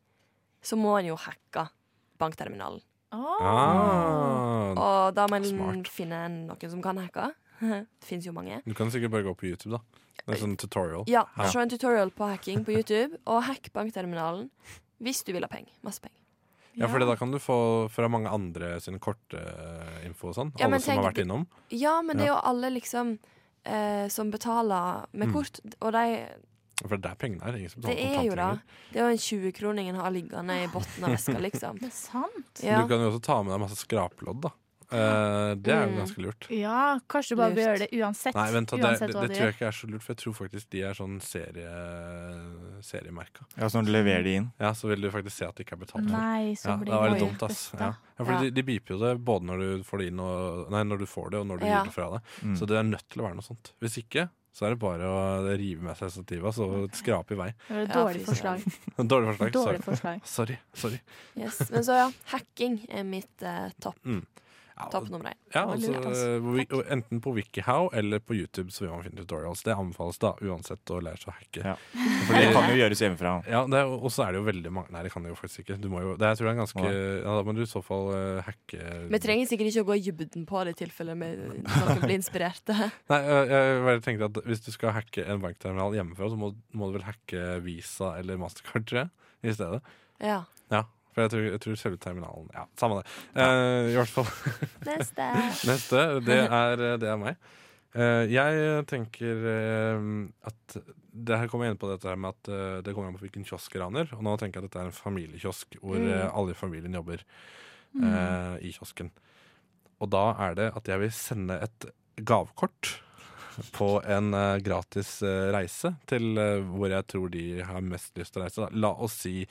så må en jo hacke bankterminalen. Ah, Og da må en Smart. finne en- noen som kan hacke. Det fins jo mange. du kan sikkert bare gå på YouTube, da. Det er sånn tutorial. Ja, Ja. Se en tutorial på hacking på YouTube, og hack bankterminalen hvis du vil ha penger. Masse penger. Ja, for da kan du få fra mange andre sin kortinfo og sånn. Ja, Alle men som har tenk- vært innom. Ja, men det er jo alle liksom eh, som betaler med Mm. kort, og de For det er der pengene er. Ingen som Det betaler er jo kontanter da lenger. Det er jo en 20-kroning en har liggende i bunnen av veska, liksom. Det er sant. Ja. Du kan jo også ta med deg masse skraplodd, da. Eh, det er jo Mm. ganske lurt. Ja, kanskje du bare bør Lurt. gjøre det uansett. Nei, vent, da, det, uansett det, hva det du tror gjør. jeg ikke er så lurt, for jeg tror faktisk de er sånn serie, seriemerka. Ja, sånn leverer de inn. Ja, så vil du faktisk se at det ikke er betalt for. Nei, så Ja, blir det var litt det dumt, ass. best, Ja. da. Ja, for Ja. De, de beeper jo det både når du får det inn og, Nei, når du får det, og når du Ja. gir det fra deg. Mm. Så det er nødt til å være noe sånt. Hvis ikke, så er det bare å rive med seg stativa, så skrape i vei. Det var et Ja, dårlig fy forslag. Dårlig forslag. Dårlig Sorry. forslag. Sorry. sorry. Yes. Men så ja, hacking er mitt eh, topp, Ja, topp nummer én. ja, var altså, lurt, ass. hvor vi- og enten på WikiHow eller på YouTube så vil man finne tutorials. Det anbefales da, uansett å lære seg å hacke. Ja. Fordi- Det kan jo gjøres hjemmefra. Ja, det er, og så er det jo veldig mange Nei, det kan det jo faktisk ikke. Du må jo, det, jeg tror det er en ganske Ja, Da må du i så fall eh, hacke Vi trenger sikkert ikke å gå i dybden på det i tilfelle vi noen blir inspirerte. Nei, jeg, jeg bare tenkte at hvis du skal hacke en bankterminal hjemmefra, så må, må du vel hacke Visa eller Mastercard, tror jeg, i stedet. Ja. Ja, for jeg tror, jeg tror selve terminalen Ja, samme det. Eh, I hvert fall. Neste. Neste, det er, det er meg. Eh, jeg tenker eh, at det her kommer jeg inn på dette her med at eh, det kommer an på hvilken kiosk jeg raner. Og nå tenker jeg at dette er en familiekiosk hvor eh, alle i familien jobber eh, i kiosken. Og da er det at jeg vil sende et gavekort på en eh, gratis eh, reise til eh, hvor jeg tror de har mest lyst til å reise. Da. La oss si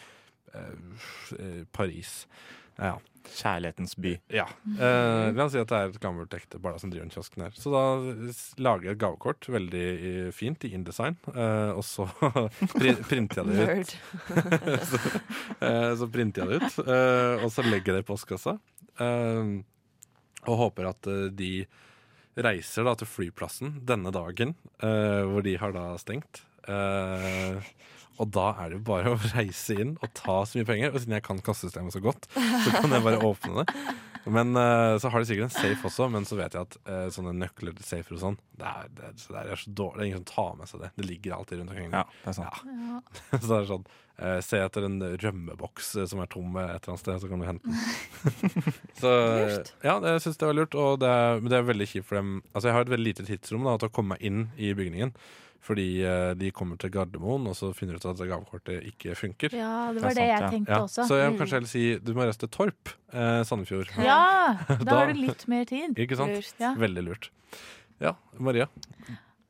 eh, Paris. Ja. Kjærlighetens by. Ja. Eh, la oss si at det er et gammelt ekte bare som driver den kiosken her. Så da s- lager jeg et gavekort, veldig eh, fint, i InDesign, eh, og så pri- printer jeg det ut. Nerd. så, eh, så printer jeg det ut, eh, og så legger jeg det i postkassa. eh, og håper at eh, de reiser da til flyplassen denne dagen, eh, hvor de har da stengt. Eh, og da er det jo bare å reise inn og ta så mye penger. Og siden jeg kan kassesystemet så godt, så kan jeg bare åpne det. Men eh, så har de sikkert en safe også, men så vet jeg at eh, sånne nøkler til safer og sånn, det er, det, er, det, er så dårlig. det er ingen som tar med seg det. Det ligger alltid rundt omkring. Ja, det er sant. Så det er sånn eh, Se etter en rømmeboks eh, som er tom eh, et eller annet sted, så kan du hente den. så, Lurt. ja, det, jeg syns det var lurt, og det er, men det er veldig kjipt for dem. Altså, jeg har et veldig lite tidsrom da, til å komme meg inn i bygningen. Fordi eh, de kommer til Gardermoen, og så finner de ut at gavekortet ikke funker. Ja, det er var det, sant, jeg ja. tenkte Ja, også. Mm. Så jeg vil kanskje heller si du må reise til Torp, eh, Sandefjord. Ja, da Da- har du litt mer tid. Ikke sant? Lurt. Ja. Veldig lurt. Ja, Maria.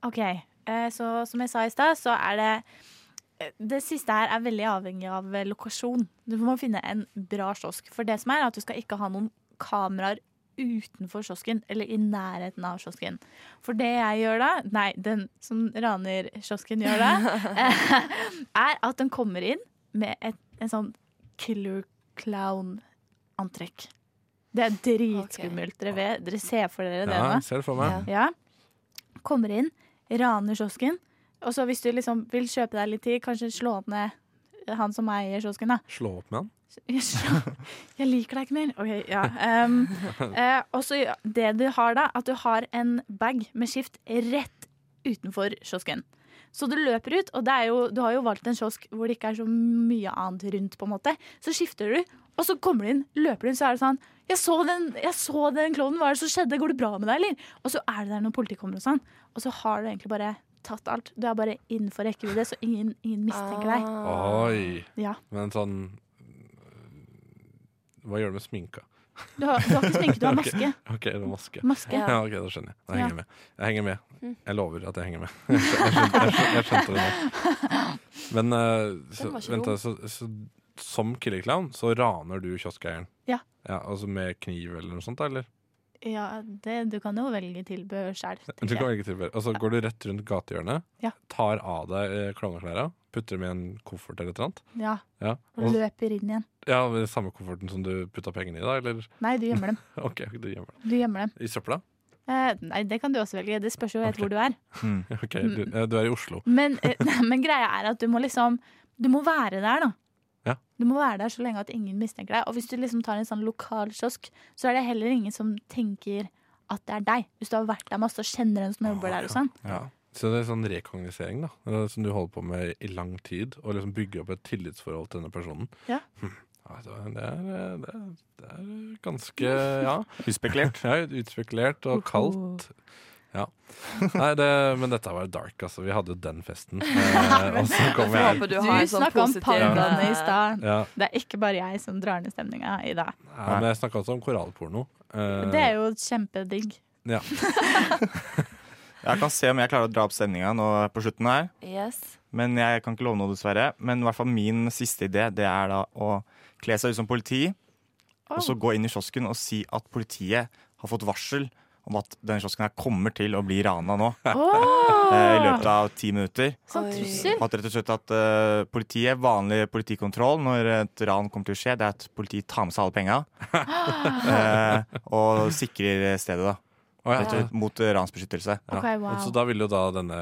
Ok, eh, så som jeg sa i stad, så er det eh, det siste her er veldig avhengig av eh, lokasjon. Du må finne en bra kiosk. For det som er, er at du skal ikke ha noen kameraer utenfor kiosken, eller i nærheten av kiosken. For det jeg gjør da, nei, den som raner kiosken gjør da, eh, er at den kommer inn med et, en sånn killer clown-antrekk. Det er dritskummelt. Dere, vet, dere ser for dere det nå. Ja, jeg ser det for meg. Ja. Kommer inn, raner kiosken. Og så hvis du liksom vil kjøpe deg litt tid, kanskje slå opp ned han som eier kiosken, da. Slå opp med han. Jeg slår- jeg liker deg ikke mer. OK, ja. Um, eh, og så gjør- det du har da, at du har en bag med skift rett utenfor kiosken. Så du løper ut, og det er jo, du har jo valgt en kiosk hvor det ikke er så mye annet rundt, på en måte. Så skifter du, og så kommer du inn, løper du inn, så er det sånn jeg så, den, jeg så den klovnen, hva er det som skjedde? Går det bra med deg, eller? Og så er det der når politiet kommer og sånn. Og så har du egentlig bare tatt alt. Du er bare innenfor rekkevidde, så ingen, ingen mistenker Ah. deg. Ah. Oi! Ja. Men sånn Hva gjør du med sminka? Du har, du har ikke sminke, du har maske. OK, det er maske. Maske. Ja. ok, Da skjønner jeg. Da henger jeg Mm. Ja. med. Jeg henger med. Jeg lover at jeg henger med. Jeg skjønte, jeg skjønte, jeg skjønte det nå. Men eh, så, Den var ikke vent, da, så, så, som killerklown så raner du kioskeieren? Ja. Altså med kniv eller noe sånt, da, eller? Ja, det, du kan jo velge tilbehør sjøl. Du kan velge tilbehør. Og så går du rett rundt gatehjørnet, Ja. tar av deg eh, klovneklærne, putter dem i en koffert eller et eller annet. Ja, Ja. og Og, løper inn igjen. ja, samme kofferten som du putta pengene i, da? Eller Nei, du gjemmer dem. OK, du gjemmer det. Du gjemmer dem. I søpla? Eh, nei, det kan du også velge. Det spørs jo Ok. helt hvor du er. OK, du, eh, du er i Oslo. Men, eh, men greia er at du må liksom Du må være der, da. Ja. Du må være der så lenge at ingen mistenker deg. Og hvis du liksom tar en sånn lokal kiosk, så er det heller ingen som tenker at det er deg. Hvis du har vært der masse og kjenner en som jobber der og sånn. Så det er sånn rekognosering, da. Det er Som du holder på med i lang tid. Og liksom bygge opp et tillitsforhold til denne personen. Ja. Hm. Ja, Det er, det er, det er, det er ganske ja, Uspekulert. ja, utspekulert og kaldt. Ja. Nei, det, men dette var dark, altså. Vi hadde den festen. Eh, og så kom Jeg jeg håper du Du har en sånn snakka om positiv pandaene i stad. ja, Det er ikke bare jeg som drar ned stemninga i dag. ja, Men jeg snakka også om korallporno. Eh, Det er jo kjempedigg. ja. Jeg kan se om jeg klarer å dra opp stemninga nå på slutten her. Yes. Men jeg kan ikke love noe, dessverre. Men i hvert fall min siste idé det er da å kle seg ut som politi, og så gå inn i kiosken og si at politiet har fått varsel om at denne kiosken her kommer til å bli rana nå eh, i løpet av ti minutter. Sånn Oi. trussel. At rett og slett at eh, politiet, vanlig politikontroll når et ran kommer til å skje, det er at politiet tar med seg alle penga eh, og sikrer stedet, da. Å, ja. Rett og slett mot eh, ransbeskyttelse. Ja. Ok, wow. Og Så da vil jo da denne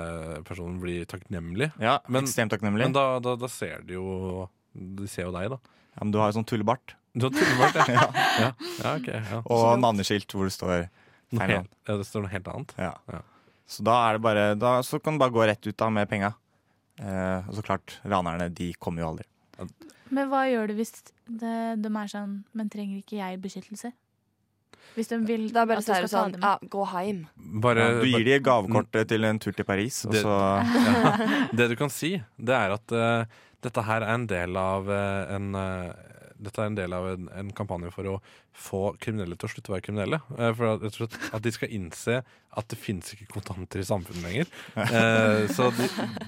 personen bli takknemlig. Ja, Men- ekstremt takknemlig. Men da, da, da ser de jo De ser jo deg, da. ja, men du har jo sånn tullebart. Du har tullebart, ja. ja. ja, ok, ja. Og navneskilt hvor det står Noe feil navn. helt- Ja, det står noe helt annet. Ja. Ja. Så da er det bare Da så kan du bare gå rett ut da med penga. Eh, og så klart, ranerne de kommer jo aldri. Men hva gjør du hvis det, de er sånn Men trenger ikke jeg beskyttelse? Hvis de vil Da bare at du skal sier du ta sånn dem. ja, gå hjem. Bare, Mm. Ja, du gir de gavekortet til en tur til Paris, og Det- så ja. Det du kan si, det er at eh, dette her er en del av eh, en eh, dette er en del av en, en kampanje for å få kriminelle til å slutte å være kriminelle. Eh, For at, rett og slett at de skal innse at det fins ikke kontanter i samfunnet lenger. Eh, så du,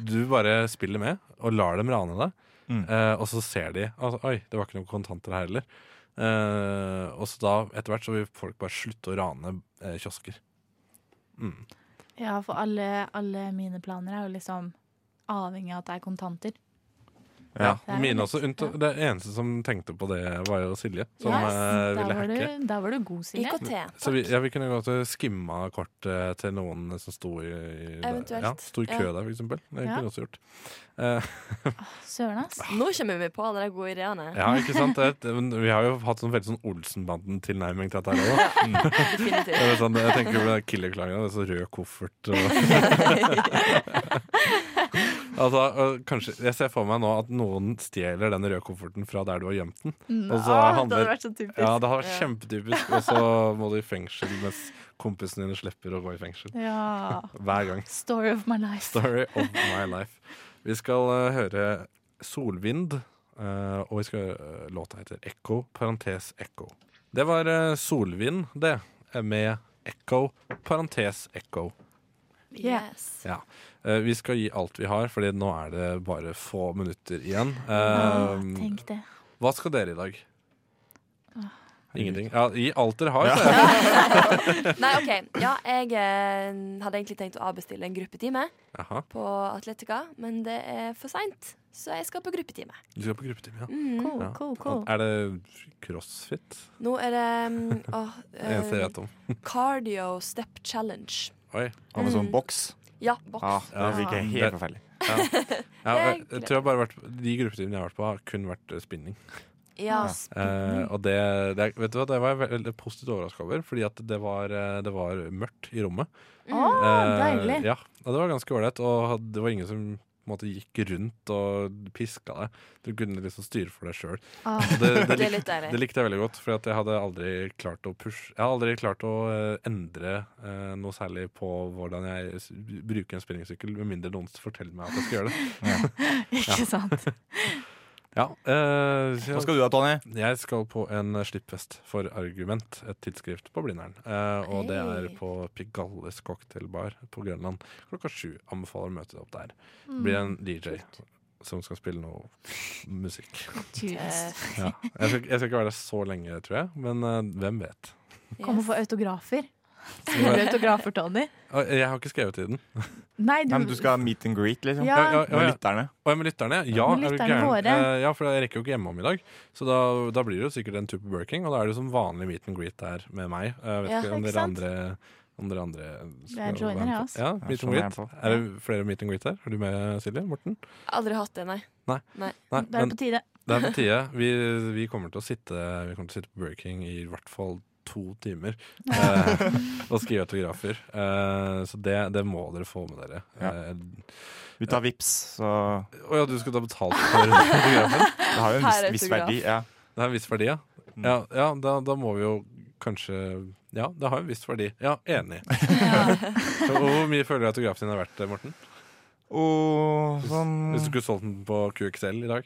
du bare spiller med og lar dem rane deg. Mm. Eh, og så ser de altså, Oi, det var ikke noen kontanter her heller. Eh, og så da, etter hvert, så vil folk bare slutte å rane eh, kiosker. Mm. Ja, for alle, alle mine planer er jo liksom avhengig av at det er kontanter. Ja. Ja, Det er jo mine litt- også. Unnta, ja. det eneste som tenkte på det, var jo Silje, som Yes, eh, der, ville var hacke. du, der var du god, Silje. IKT. Så vi, ja, vi kunne gå til skimma kort eh, til noen som sto i, i Eventuelt, Ja, sto i kø ja. der, for eksempel. Det Ja. kunne vi også gjort. Eh, Søren, ass. Nå kommer vi på alle de gode ideene. ja, ikke sant? Det, er et- men vi har jo hatt sånn veldig sånn Olsenbanden-tilnærming til dette her òg. Definitivt. Sånn, jeg tenker på det killerklagen, og så rød koffert og Altså, øh, kanskje, Altså, eh, Jeg ser for meg nå at noen noen stjeler den røde kofferten fra der du har gjemt den. Mm. Og så Ah, handler- det hadde vært så typisk. Ja, det har vært kjempetypisk. Og så må du i fengsel mens kompisene dine slipper å gå i fengsel. Ja. Hver gang. Story of my life. Story of my life. Vi skal eh, høre Solvind, eh, og vi skal høre eh, låta heter Echo, parentes Echo. Det var eh, Solvind, det, eh, med Echo, parentes Echo. Yes. Ja. Eh, vi skal gi alt vi har, fordi nå er det bare få minutter igjen. Eh, Ah, tenk det. hva skal dere i dag? Ingenting. Ja, gi alt dere har, så jeg. Nei, OK. Ja, jeg eh, hadde egentlig tenkt å avbestille en gruppetime Jaha, på Atletica, men det er for seint, så jeg skal på gruppetime. du skal på gruppetime, ja. Mm. Cool, Ja. cool, cool. Er det crossfit? Nå er det mm, åh, Det eneste jeg eh, vet om. Cardio Step Challenge. Oi. Har man sånn boks? Ja, boks. Ja, det virker Ja. helt forferdelig. Ja, jeg, Det er jeg tror jeg bare har vært, De gruppetimene jeg har vært på, har kun vært eh, spinning. Ja. Eh, Mhm. og det, det, er- vet du hva, det var jeg ve- veldig positivt overraska over, fordi at det var, eh, det var mørkt i rommet. Å, Ah, Eh, deilig. ja, og det var ganske ålreit. Og had- det var ingen som på en måte, gikk rundt og piska deg. Du kunne liksom styre for deg sjøl. Ah. Det, det, Det er lik- litt deilig. det likte jeg veldig godt, for at jeg hadde aldri klart å pushe Jeg har aldri klart å eh, endre eh, noe særlig på hvordan jeg s- bruker en spinningsykkel, med mindre noen forteller meg at jeg skal gjøre det. Ikke sant? Ja, eh, så Hva jeg- skal du da, Tonje? Jeg skal på en slippfest for Argument, et tidsskrift på Blindern. Eh, og det er Hey. på Pigalles cocktailbar på Grønland klokka sju. Anbefaler å møte deg opp der. Det blir Mm. en DJ som skal spille noe musikk. Tøft. Ja. Jeg, skal, jeg skal ikke være der så lenge, tror jeg, men eh, hvem vet. Kom og få autografer. du ha- Skriver du autografer, Tony? Å, Ah, Jeg har ikke skrevet i den. Nei, du, Nei, men du skal ha meet and greet, liksom? Ja. Ja, ja, ja, Med ja. lytterne? Og med lytterne? Ja, Med er du lytterne gæren? våre. Eh, ja, for jeg rekker jo ikke hjemom i dag. Så da, da blir det jo sikkert en tur på Burking, og da er det jo som vanlig meet and greet der med meg. Eh, Jeg vet Ja, ikke om ikke dere sant? andre om dere andre skal Jeg være joiner, altså. med jeg på. også. Ja, meet and sånn er jeg greet. Er det flere meet and greet der? Er du med, Silje? Morten? Aldri hatt det, nei. Nei, da er det men på tide. det er på tide. Vi, vi, kommer til å sitte, vi kommer til å sitte på Burking i hvert fall to timer eh, og skrive autografer. Eh, så det, det må dere få med dere. Ja. Eh, Vi tar vips, så Å ja, du skal ta betalt for autografen? det har jo en Her er viss, viss autograf. verdi. Ja. Det har en viss verdi, ja. Mm. Ja, ja da, da må vi jo kanskje Ja, det har en viss verdi. Ja, enig. Så, og hvor mye føler du autografen din er verdt, Morten? Og sånn Hvis du skulle solgt den på QXL i dag?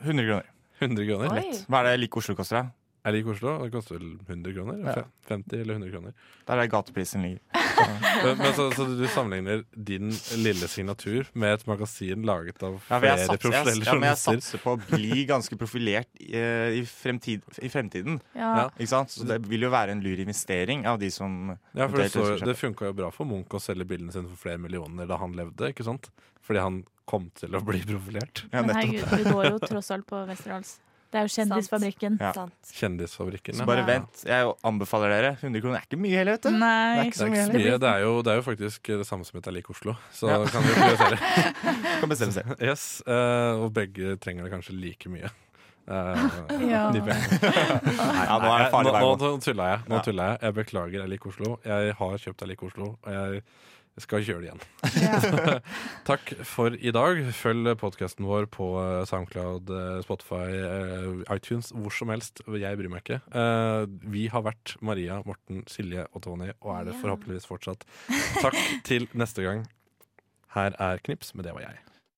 100 kroner. 100 kroner? Oi. Lett. Hva er det like Oslo koster, da? Er det ikke Oslo? Det koster vel 100 kroner? Ja. Fe- 50 eller 100 kroner. Der er gateprisen ligger. Men, men så, så du sammenligner din lille signatur med et magasin laget av Ja, for flere jeg satser, jeg, profesjonelle ja, men jeg journalister? satser på å bli ganske profilert i, eh, i, fremtid, i fremtiden. Ja. Ja. Ikke sant? Så det vil jo være en lur investering av de som Ja, for det, eventuelt så, ønsker det seg. funka jo bra for Munch å selge bildene sine for flere millioner da han levde, ikke sant? Fordi han kom til å bli profilert. ja, Men nettopp. herregud, du går jo tross alt på Westerdals. Det er jo Kjendisfabrikken. Ja. Sant. Kjendisfabrikken. Så ja. bare vent. Jeg anbefaler dere. 100 kroner er ikke mye heller, vet du. Det er Nei. ikke Det så er, mye ikke så heller. mye. Det, er jo, det er jo faktisk det samme som et er lik Oslo. Så Ja. kan dere prioritere. Du kan bestemme selv. Yes, eh, og begge trenger det kanskje like mye. Eh, Ja. de pengene. Ja, nå er det Nå, farlig vei å gå. nå tulla jeg. Nå Ja. tulla jeg. Jeg beklager jeg liker Oslo. Jeg har kjøpt jeg liker Oslo, og jeg skal kjøre det igjen. Takk for i dag. Følg podkasten vår på eh, SoundCloud, eh, Spotify, eh, iTunes, hvor som helst. Jeg bryr meg ikke. Eh, Vi har vært Maria, Morten, Silje og Tony, og er det forhåpentligvis fortsatt. Takk til neste gang. Her er Knips, men det var jeg.